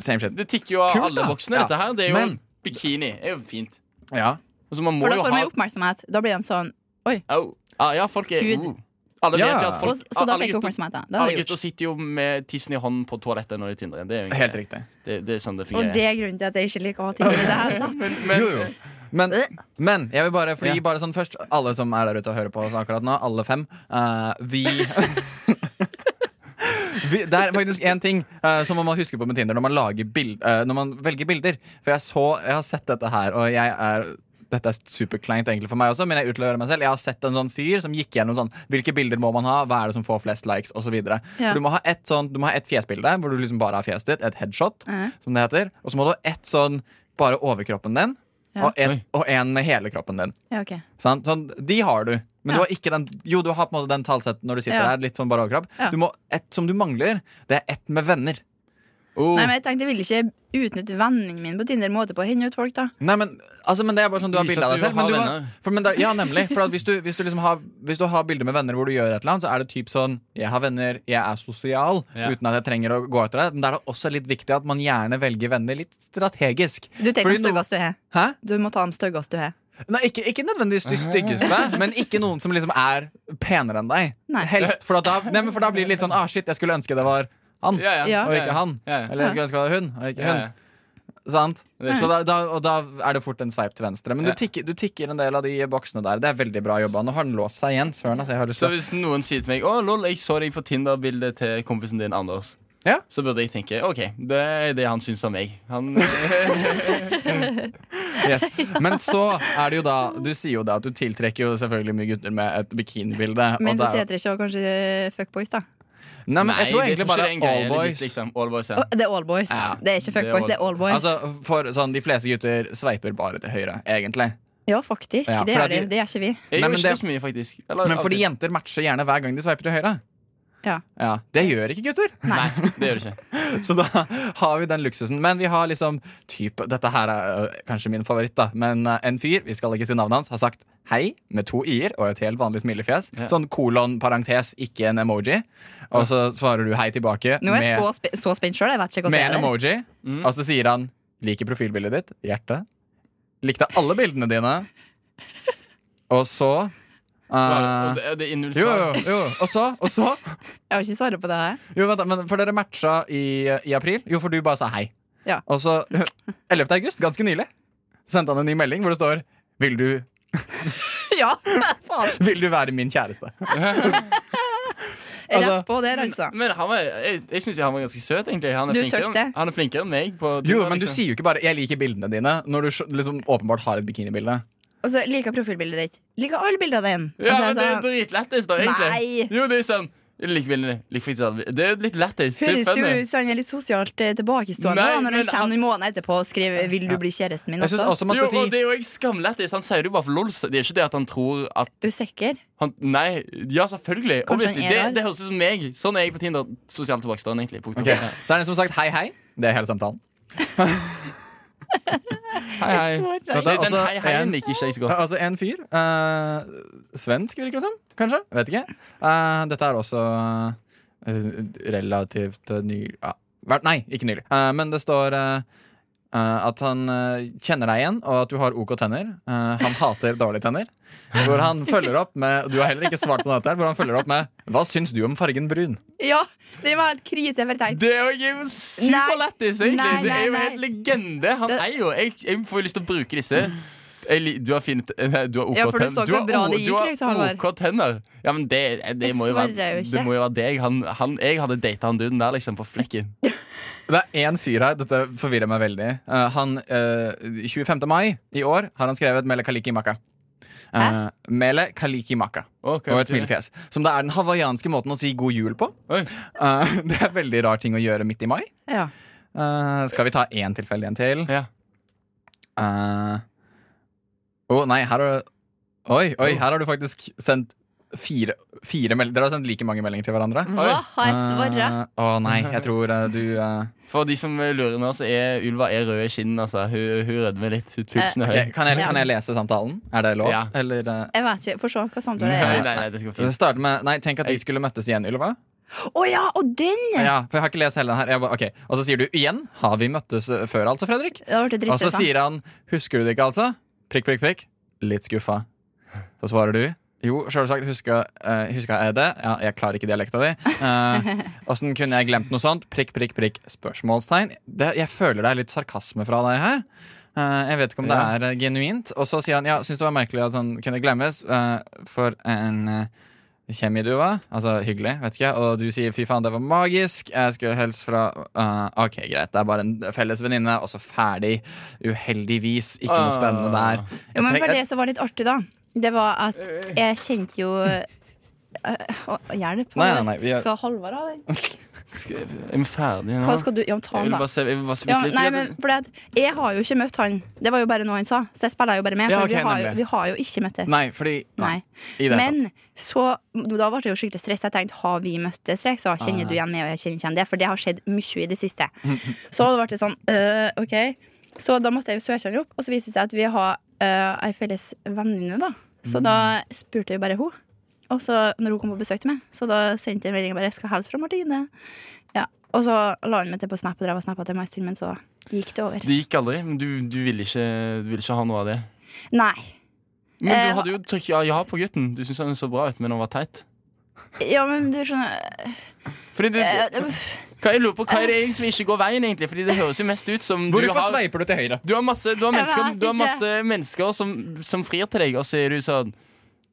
Same shit.
Det tikker jo av
Kult,
alle
da.
voksne,
Ja.
dette her. Det er jo
Men-
Bikini er jo fint.
Ja.
Altså, man må
For da
jo
får
ha
man oppmerksomhet. Da blir de sånn Oi.
Au. Ah, ja, folk er
Hud.
uh. Alle
Ja.
vet jo at folk
Og- så da
alle
fikk du
gutter-
oppmerksomhet, da. Det hadde
Alle
jeg gjort.
gutter sitter jo med tissen i hånden på toalettet når de tindrer. Det er jo
Helt riktig.
Det, det er sånn det
Og
fungerer.
det er grunnen til at jeg ikke liker å ha Tinder i det hele tatt.
Jo, jo. Men, men jeg vil bare, fordi
Ja.
bare sånn først Alle som er der ute og hører på oss akkurat nå, alle fem eh, Vi Vi, det er faktisk én ting eh, som man må huske på med Tinder når man, lager bild, eh, når man velger bilder. For jeg, så, jeg har sett dette her, og jeg er dette er superkleint egentlig for meg også, men jeg utlører meg selv. Jeg har sett en sånn fyr som gikk gjennom sånn Hvilke bilder må man ha? Hva er det som får flest likes? Og så videre.
Ja.
For Du må ha ett sånn, du må ha ett fjesbilde hvor du liksom bare har fjeset ditt. Et headshot,
Mhm.
som det heter. Og så må du ha ett sånn bare overkroppen din,
Ja.
og, en, og en med hele kroppen din.
Ja, ok.
Sant? Sånn, de har du.
Ja.
Men du har ikke den Jo, du har på en måte den talsetten når du sitter
Ja.
der. Litt sånn bare overkropp
Ja.
du må, Et som du mangler, det er ett med venner. Oh.
Nei, men jeg tenkte jeg ville ikke utnytte vendingen min på Tinder måte på å henge ut folk, da.
Nei, men, altså, men det er bare sånn du har
Vis
bilde
at
av deg
du
selv.
har
Men du har,
venner.
for, men da, ja, nemlig. For at hvis, du, hvis, du liksom har, hvis du har bilder med venner hvor du gjør et eller annet, så er det typ sånn Jeg har venner, jeg er sosial,
Ja.
uten at jeg trenger å gå etter det. Men da er det også litt viktig at man gjerne velger venner litt strategisk.
Du tenker
Fordi
de
noen-
styggeste du har.
Hæ?
Du må ta de styggeste du har.
Nei, ikke, ikke nødvendigvis de styggeste, men ikke noen som liksom er penere enn deg.
Nei.
Helst, for, at da, nei, men for da blir det litt sånn ah, shit, jeg skulle ønske det var han,
Ja, ja. Ja.
og ikke han.
Ja, ja.
Eller jeg skulle ønske det var hun, og ikke
Ja, ja.
hun. Sant?
Det er
Så da, da, og da er det fort en sveip til venstre. Men
Ja.
du, tikker, du tikker en del av de boksene der. Det er veldig bra jobba. Nå har han låst seg igjen. Søren, altså, jeg har lyst
Så
til å-
hvis noen sier til meg Å, lol, jeg så deg på Tinder-bildet til kompisen din Anders, så burde jeg tenke OK, det er det han syns om meg. Han
Yes. Men så er det jo da Du sier jo da at du tiltrekker jo selvfølgelig mye gutter med et bikinibilde. og
Men
det
så
er jo-
heter det ikke å kanskje fuckboys, da.
Nei, men jeg tror
det-
egentlig
ikke
bare
det er en greie.
all
Det er litt
boys.
Liksom, all boys ja.
Å, Det er all boys. Det er ikke fuckboys, det er all boys.
Altså, for sånn, De fleste gutter sveiper bare til høyre, egentlig.
Ja, faktisk.
Ja,
det
for
gjør
at de-
de. Det gjør ikke vi.
Jeg Nei, gjør men ikke det- så
mye, faktisk. altså,
Men fordi jenter matcher gjerne hver gang de sveiper til høyre.
Ja.
Ja, Det gjør ikke gutter.
Nei, det gjør det ikke.
Så da har vi den luksusen. Men vi har liksom type, Dette her er øh, kanskje min favoritt, da. Men øh, en fyr, vi skal ikke si navnet hans, har sagt hei med to i-er og et helt vanlig smilefjes.
Ja.
Sånn kolon parentes, ikke en emoji. Og så svarer du hei tilbake
Nå er jeg så
med,
spe- så spent sjøl. Jeg vet ikke hva
med
jeg
en
skal si.
emoji.
Mm.
Og så sier han liker profilbildet ditt. Hjerte. Likte alle bildene dine. Og så
Svar,
øh,
og det, det er
jo,
innholdsvar.
jo, jo. Og så, og så
Jeg vil ikke svare på det her.
Jo, vent da, men For dere matcha i, i april. Jo, for du bare sa hei.
Ja.
Og så 11. august, ganske nylig, sendte han en ny melding hvor det står Vil du
ja, faen.
Vil du være min kjæreste?
Rett på der, altså.
Men han var, jeg, jeg syns han var ganske søt, egentlig. Han er,
Du
flinkere,
tøkk
enn-
det.
han er flinkere enn meg. På
Jo,
liksom-
men du sier jo ikke bare 'jeg liker bildene dine' når du sj- liksom åpenbart har et bikinibilde.
Og så liker jeg profilbildet ditt. Liker alle bildene dine. Og
Ja,
så er
men det er
sånn-
dritlættis, da, egentlig. Jo, det er sånn Lik vennene, lik fritidsarbeidet. Det er litt lættis. Det er
Høres jo
funny.
ut som han er litt sosialt eh, tilbakestående
Nei,
da, når
men
han kommer i måneden etterpå og skriver 'Vil du bli kjæresten min?'
jo, og Det er jo ikke skamlættis. Han sier det jo bare for lols. Det er ikke det at han tror at
Du er sikker?
han, nei, ja, selvfølgelig.
Kanskje
Obviously.
han er
Det,
der?
det høres ut som meg. Sånn er jeg på Tinder. Sosialt tilbakestående, egentlig. Punktum.
Ok, Så er det en som har sagt hei, hei. Det er hele samtalen.
Hei, hei. Det er Den hei, hei
altså, en-
liker ikke jeg så
Ja,
godt.
Altså en fyr eh, Svensk virker det som, kanskje? Vet ikke Eh, Dette er også eh, relativt eh, ny ja, vær- Nei, ikke nylig Eh, Men det står eh, eh, at han eh, kjenner deg igjen Og at du har ok tenner Eh, Han hater dårlige tenner Hvor han følger opp med Du har heller ikke svart på dette her, Hvor han følger opp med Hva syns du om fargen brun?
Ja, det var helt krise for tenkt.
Det er jo superlættis,
Nei.
egentlig.
Nei,
det er jo
nei,
helt legende. Han
Det-
er jo Jeg, jeg får jo lyst til å bruke disse. Jeg, li- du har fint nei, Du har OK
Ja, for du
tenn-
så
har
hvor bra
o-
det gikk,
du har
liksom, Halvard.
OK tenner. Ja, men det, det,
Jeg
må jo være,
svarer jo ikke.
det må jo være deg. Han, han, jeg hadde data han duden der, liksom, på flekken.
Det er én fyr her, dette forvirrer meg veldig. Eh, han, eh, 25. mai i år har han skrevet Mele Kaliki Maka. Eh, Mele Kaliki Maka. og et
betyr det?
smilefjes. Som det er den hawaiianske måten å si god jul på. Eh, det er veldig rar ting å gjøre midt i mai.
Ja.
Eh, skal vi ta én tilfelle igjen til? Eh,
Ja.
Å nei, her har du Oi, oi, her har du faktisk sendt fire, fire mel- Dere har sendt like mange meldinger til hverandre.
Hva har jeg svaret?
Eh, Å nei, jeg tror eh, du eh,
For de som lurer nå, så er ulva er rød i kinnene. Altså. Hun, hun rødmer litt.
Eh,
Hun Pulsen er høy.
Ok, kan, jeg, kan jeg lese samtalen? Er det lov?
Ja.
Eller, eh,
Jeg vet ikke. Få se hva samtale det
Nei,
er.
nei, nei, det skal gå
det
fint.
starter med Nei, tenk at vi skulle møttes igjen, Ylva.
Å ja, og den!
Ja, for jeg har ikke lest hele den her. Jeg bare, ok. Og så sier du igjen. Har vi møttes eh, før, altså, Fredrik?
Det har vært
Og så
drittsøtt, da.
sier han Husker du det ikke, altså? Prikk, prikk, prikk. Litt skuffa. Så svarer du jo, sjølsagt. Huska, eh, huska jeg det? Ja, jeg klarer ikke dialekta di. Eh, Åssen kunne jeg glemt noe sånt? Prikk, prikk, prikk. Spørsmålstegn. Det, jeg føler det er litt sarkasme fra deg her. Eh, jeg vet ikke om det
Ja.
er eh, genuint. Og så sier han ja, syns det var merkelig at han kunne glemmes eh, for en eh, Kjemi du var, altså hyggelig, vet ikke Og du sier fy faen, det var magisk Jeg skulle helst fra eh, Ok, greit, det er bare en felles venninne Og så ferdig, uheldigvis Ikke noe spennende der
Jo, Ah. men
Jeg
for
tenk-
det som var litt artig, da, det var at
Øh.
jeg kjente jo øh, Å, å, Hjelp.
Nei, nei, nei, vi er-
Skal Halvard ha den?
Skal jeg- Jeg er ferdig nå.
Hva skal du Ja, ta
Jeg vil
den, da.
bare se, jeg vil bare se
Ja,
litt-
nei, men fordi at Jeg har jo ikke møtt han. Det var jo bare noe han sa, så jeg spiller jo bare med.
Ja,
For
ok,
vi, har jo,
nemlig.
vi har jo ikke møttes.
Nei, fordi
Nei.
I det hele
Men så, da ble det jo skikkelig stress. Jeg tenkte har vi møttes, Rex? Så
Ah,
kjenner du igjen meg, og jeg kjenner ikke igjen det. For det har skjedd mye i det siste. Så da ble det sånn øh, OK. Så da måtte jeg jo søke han opp, og så viste det seg at vi har øh, ei felles venninne, da.
Mm.
Så da spurte jeg jo bare hun. Og så når hun kom på besøk til meg, så da sendte jeg en melding og bare 'Jeg skal hilse fra Martine'. Ja. Og så la hun meg til på Snap, og drev og snappa til meg en stund, men så gikk det over.
Det gikk aldri, men du, du ville ikke, du ville ikke ha noe av det.
Nei.
Men
Eh,
du hadde jo trykk ja, ja på gutten. Du syntes han så bra ut, men han var teit.
Ja, men du skjønner øh,
Fordi det,
Eh,
hva, jeg lurer på, hva er det egentlig som ikke går veien, egentlig? Fordi det høres jo mest ut som du
Hvorfor
har,
sveiper du til høyre?
du har masse, du har
Jeg
mennesker,
vet
du har
ikke.
masse mennesker som, som frir til deg, og så er du sånn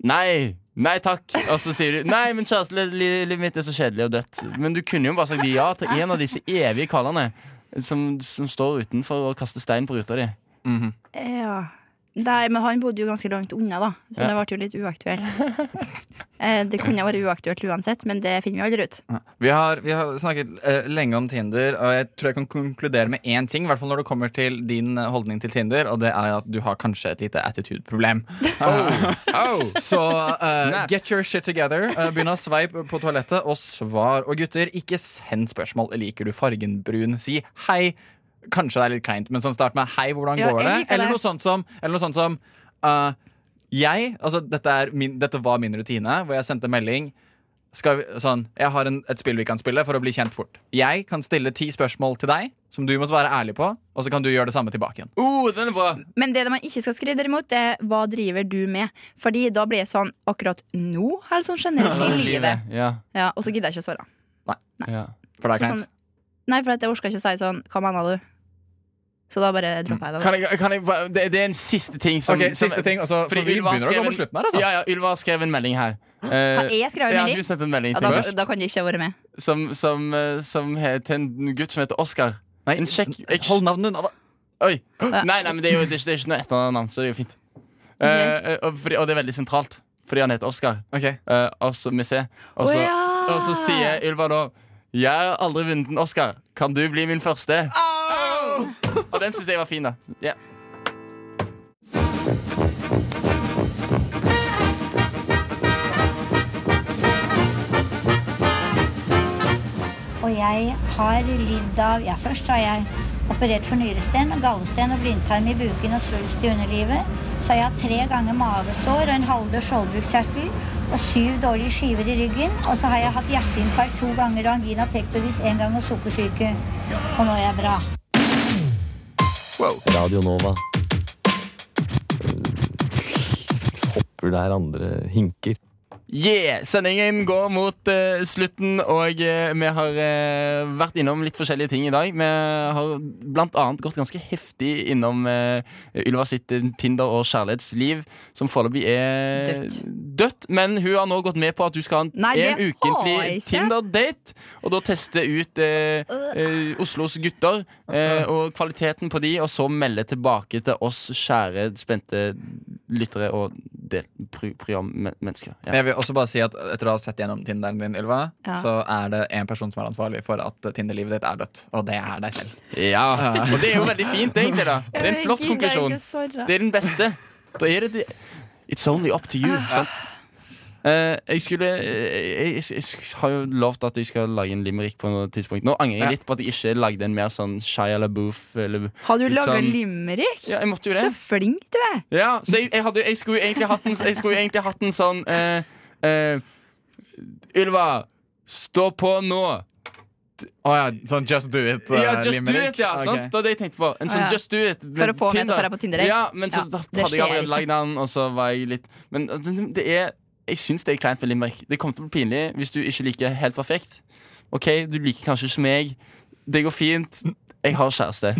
Nei. Nei takk. Og så sier du Nei, men kjæresten li- li- livet mitt er så kjedelig og dødt. Men du kunne jo bare sagt ja til en av disse evige karlene som, som står utenfor og kaster stein på ruta di.
Ja. Nei, men han bodde jo ganske langt unna, da, så
Ja.
det ble jo litt uaktuelt. Eh, det kunne vært uaktuelt uansett, men det finner vi aldri ut.
Vi har, vi har snakket eh, lenge om Tinder, og jeg tror jeg kan konkludere med én ting. I hvert fall når det kommer til din eh, holdning til Tinder, og det er at du har kanskje et lite attitude-problem. Eh, Oh. Så eh,
Snap.
get your shit together. eh, begynn å sveipe på toalettet, og svar. Og gutter, ikke send spørsmål. Liker du fargen brun? Si hei. Kanskje det er litt kleint, men sånn start med hei, hvordan
Ja,
går
jeg
det?
liker
Eller
det.
noe sånt som, eller noe sånt som eh, jeg, altså dette, er min, dette var min rutine, hvor jeg sendte melding skal vi, sånn, Jeg har en, et spill vi kan spille for å bli kjent fort. Jeg kan stille ti spørsmål til deg som du må svare ærlig på, og så kan du gjøre det samme tilbake igjen.
Oh, den er bra.
Men det man ikke skal skrive derimot, det er hva driver du med? Fordi da blir jeg sånn akkurat nå, eller sånn generelt i livet.
Ja.
Ja, og så gidder jeg ikke å svare.
Nei.
Ja.
For det er
Så
sånn-
kleint.
sånn, Nei, for at jeg orker ikke å si sånn Hva mener du? Så da bare droppa jeg det. da.
Kan jeg, kan jeg, bare- det, det er en siste ting som
Ok, siste ting, og så-
Fordi
for vi
Ylva
begynner å gå
skrev
på
en-
slutten her, altså.
Ja, ja, Ylva skrev en melding her. Eh,
Har jeg skrevet en
Ja,
melding?
du sendte en melding
Ja,
til
da,
meg.
da kan jeg ikke ha vært med.
Som, som, eh, som er til en gutt som heter Oskar. En kjekk Mm, Hold
navnet unna, da.
Oi. Nei, nei, men det er jo det er ikke, det er ikke noe etternavn, så det er jo fint. Eh, eh, og, fordi, og det er veldig sentralt, fordi han heter Oskar.
Okay.
Eh, og så vi ser. Og så,
Å ja!
og så sier Ylva da Jeg har aldri vunnet en Oscar. Kan du bli min første? Og den syns jeg var fin, da. Ja.
Og jeg har lidd av Ja, først har jeg operert for nyresten, gallesten og blindtarm i buken og svulst i underlivet. Så har jeg hatt tre ganger mavesår og en halvdød skjoldbruskkjertel og syv dårlige skiver i ryggen. Og så har jeg hatt hjerteinfarkt to ganger og angina pectoris én gang og sukkersyke. Og nå er jeg bra.
Radio Nova. Hopper der andre hinker.
Yeah! Sendingen går mot eh, slutten, og eh, vi har eh, vært innom litt forskjellige ting i dag. Vi har blant annet gått ganske heftig innom eh, Ylva sitt eh, Tinder- og kjærlighetsliv, som foreløpig er dødt. Men hun har nå gått med på at du skal ha en,
Nei, det
en
har jeg
ukentlig
ikke. Øh.
Tinder-date, og da teste ut eh, eh, Oslos gutter eh, og kvaliteten på de, og så melde tilbake til oss kjære, spente lyttere og del, pro programmennesker.
Men jeg vil også bare si at Etter å ha sett gjennom Tinderen din, Ylva,
Ja.
så er det en person som er ansvarlig for at Tinder-livet ditt er dødt. Og det er deg selv.
Ja, og det er jo veldig fint, egentlig. da Det er en
Jeg
flott
gidder ikke
konklusjon.
svare.
Det er den beste. Da er det det It's only up to you. Sant? Eh, jeg skulle jeg, jeg, jeg har jo lovt at jeg skal lage en limerick på noe tidspunkt. Nå angrer
Ja.
jeg litt på at jeg ikke lagde en mer sånn Shia LaBeouf. Eller,
Har du
litt
laga
sånn-
limerick?
Ja, jeg måtte jo det.
Så flink du er.
Ja, så jeg, jeg, hadde, jeg skulle jo egentlig hatt en, jeg skulle jo egentlig hatt en sånn eh, eh, Ylva, stå på nå!
Å ja, sånn Just Do It. eh,
Ja, just do
limerick.
it, ja, sant?
Ok.
Det var det jeg tenkte på. En sånn
Ah, ja.
just do it
For å få meg til å få deg på Tinder, ikke?
Ja, men så
Ja,
da
det
hadde jeg
skjer liksom.
allerede
ikke.
lagd den, og så var jeg litt Men altså, det er Jeg syns det er kleint med limerick. Det kommer til å bli pinlig hvis du ikke liker helt perfekt. OK, du liker kanskje ikke meg. Det går fint. Jeg har kjæreste.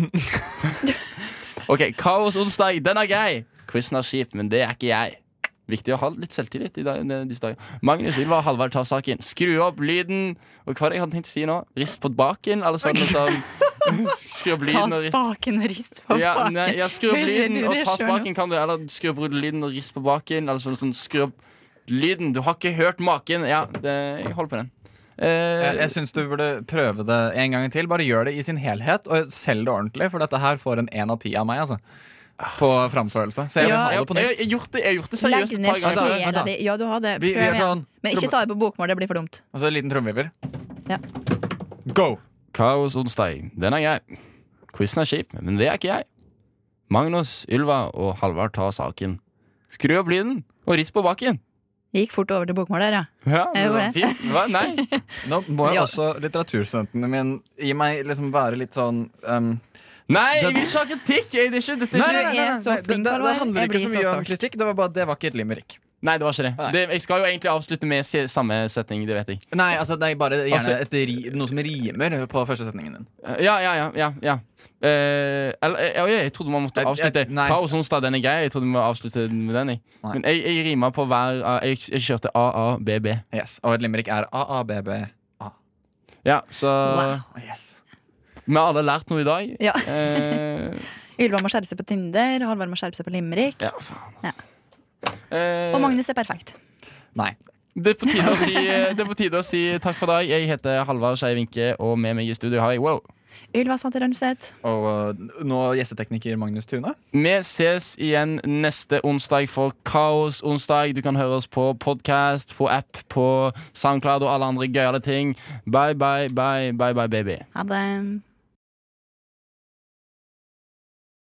OK, Kaos onsdag, den er grei. Quizen er kjip, men det er ikke jeg. Viktig å ha litt selvtillit i dag, disse dager. Magnus Ylva og Halvard tar saken. Skru opp lyden. Og hva er det jeg hadde tenkt å si nå? Rist på baken? Eller sånn noe som Skru opp
Ta
lyden og rist
spaken og rist på
ja,
baken.
nei, ja, skru opp
Hører
lyden
du
og
det
ta
selv nå?
spaken, kan du. Eller skru opp lyden og rist på baken. Eller sånn, sånn skru opp lyden. Du har ikke hørt maken. Ja, det, jeg holder på den. Eh,
Jeg, jeg syns du burde prøve det en gang til. Bare gjør det i sin helhet, og selg det ordentlig. For dette her får en én av ti av meg, altså. På framførelse. Så jeg vil
Ja.
ha det på nytt.
Jeg har gjort det, jeg har gjort det
Legg
seriøst et
ned
par ganger.
sjela di. Ja, du har det.
Vi- vi
Prøv
er
igjen.
sånn-
Men ikke ta det på bokmål, det blir for dumt.
Og så en liten trommevirvel.
Ja.
Go!
Kaos onsdag, den er jeg. Quizen er kjip, men det er ikke jeg. Magnus, Ylva og Halvard tar saken. Skru opp lyden og rist på baken.
Jeg gikk fort over til bokmål der, ja.
Ja,
Jeg gjorde det.
fint. Hva? Nei.
Nå må jeg
Ja.
også litteraturstudentene mine gi meg liksom være litt sånn um,
Nei,
det,
jeg vil ikke ha kritikk! Jeg- Det er ikke, dette
nei,
er ikke-
nei, nei, nei, nei, nei, det, det, det handler ikke så mye om kritikk. Det var bare det var ikke et limerick.
Nei, det var ikke det.
Nei.
det. Jeg skal jo egentlig avslutte med se- samme setning, det vet jeg.
Nei, altså det er bare gjerne
Altså-
et ri, noe som rimer på første setningen din.
Ja, ja, ja. ja, ja. Eh, eller, eh, oi, jeg trodde man måtte
Jeg- jeg-
avslutte.
nei.
Kaos onsdag, den er grei. Jeg trodde vi må avslutte med den. Jeg. Men jeg, jeg rima på hver av- Jeg, jeg kjørte AABB.
Yes, Og et limerick er AABBA.
Ja, så
Wow, yes.
Vi har alle lært noe i dag.
Ja.
Eh,
Ylva må skjerpe seg på Tinder, Halvard må skjerpe seg på Limerick.
Ja,
Og
eh,
Magnus er perfekt.
Nei.
det er på tide å si, eh, det er på tide å si takk for i dag. Jeg heter Halvard Skei Vinke, og med meg i studio har jeg Wow.
Ylva Santer Rønneset.
Og uh, nå gjestetekniker Magnus Tune.
Vi ses igjen neste onsdag for Kaos onsdag. Du kan høre oss på podkast, på app, på SoundCloud og alle andre gøyale ting. Bye, bye, bye, bye, bye, baby.
Ha det.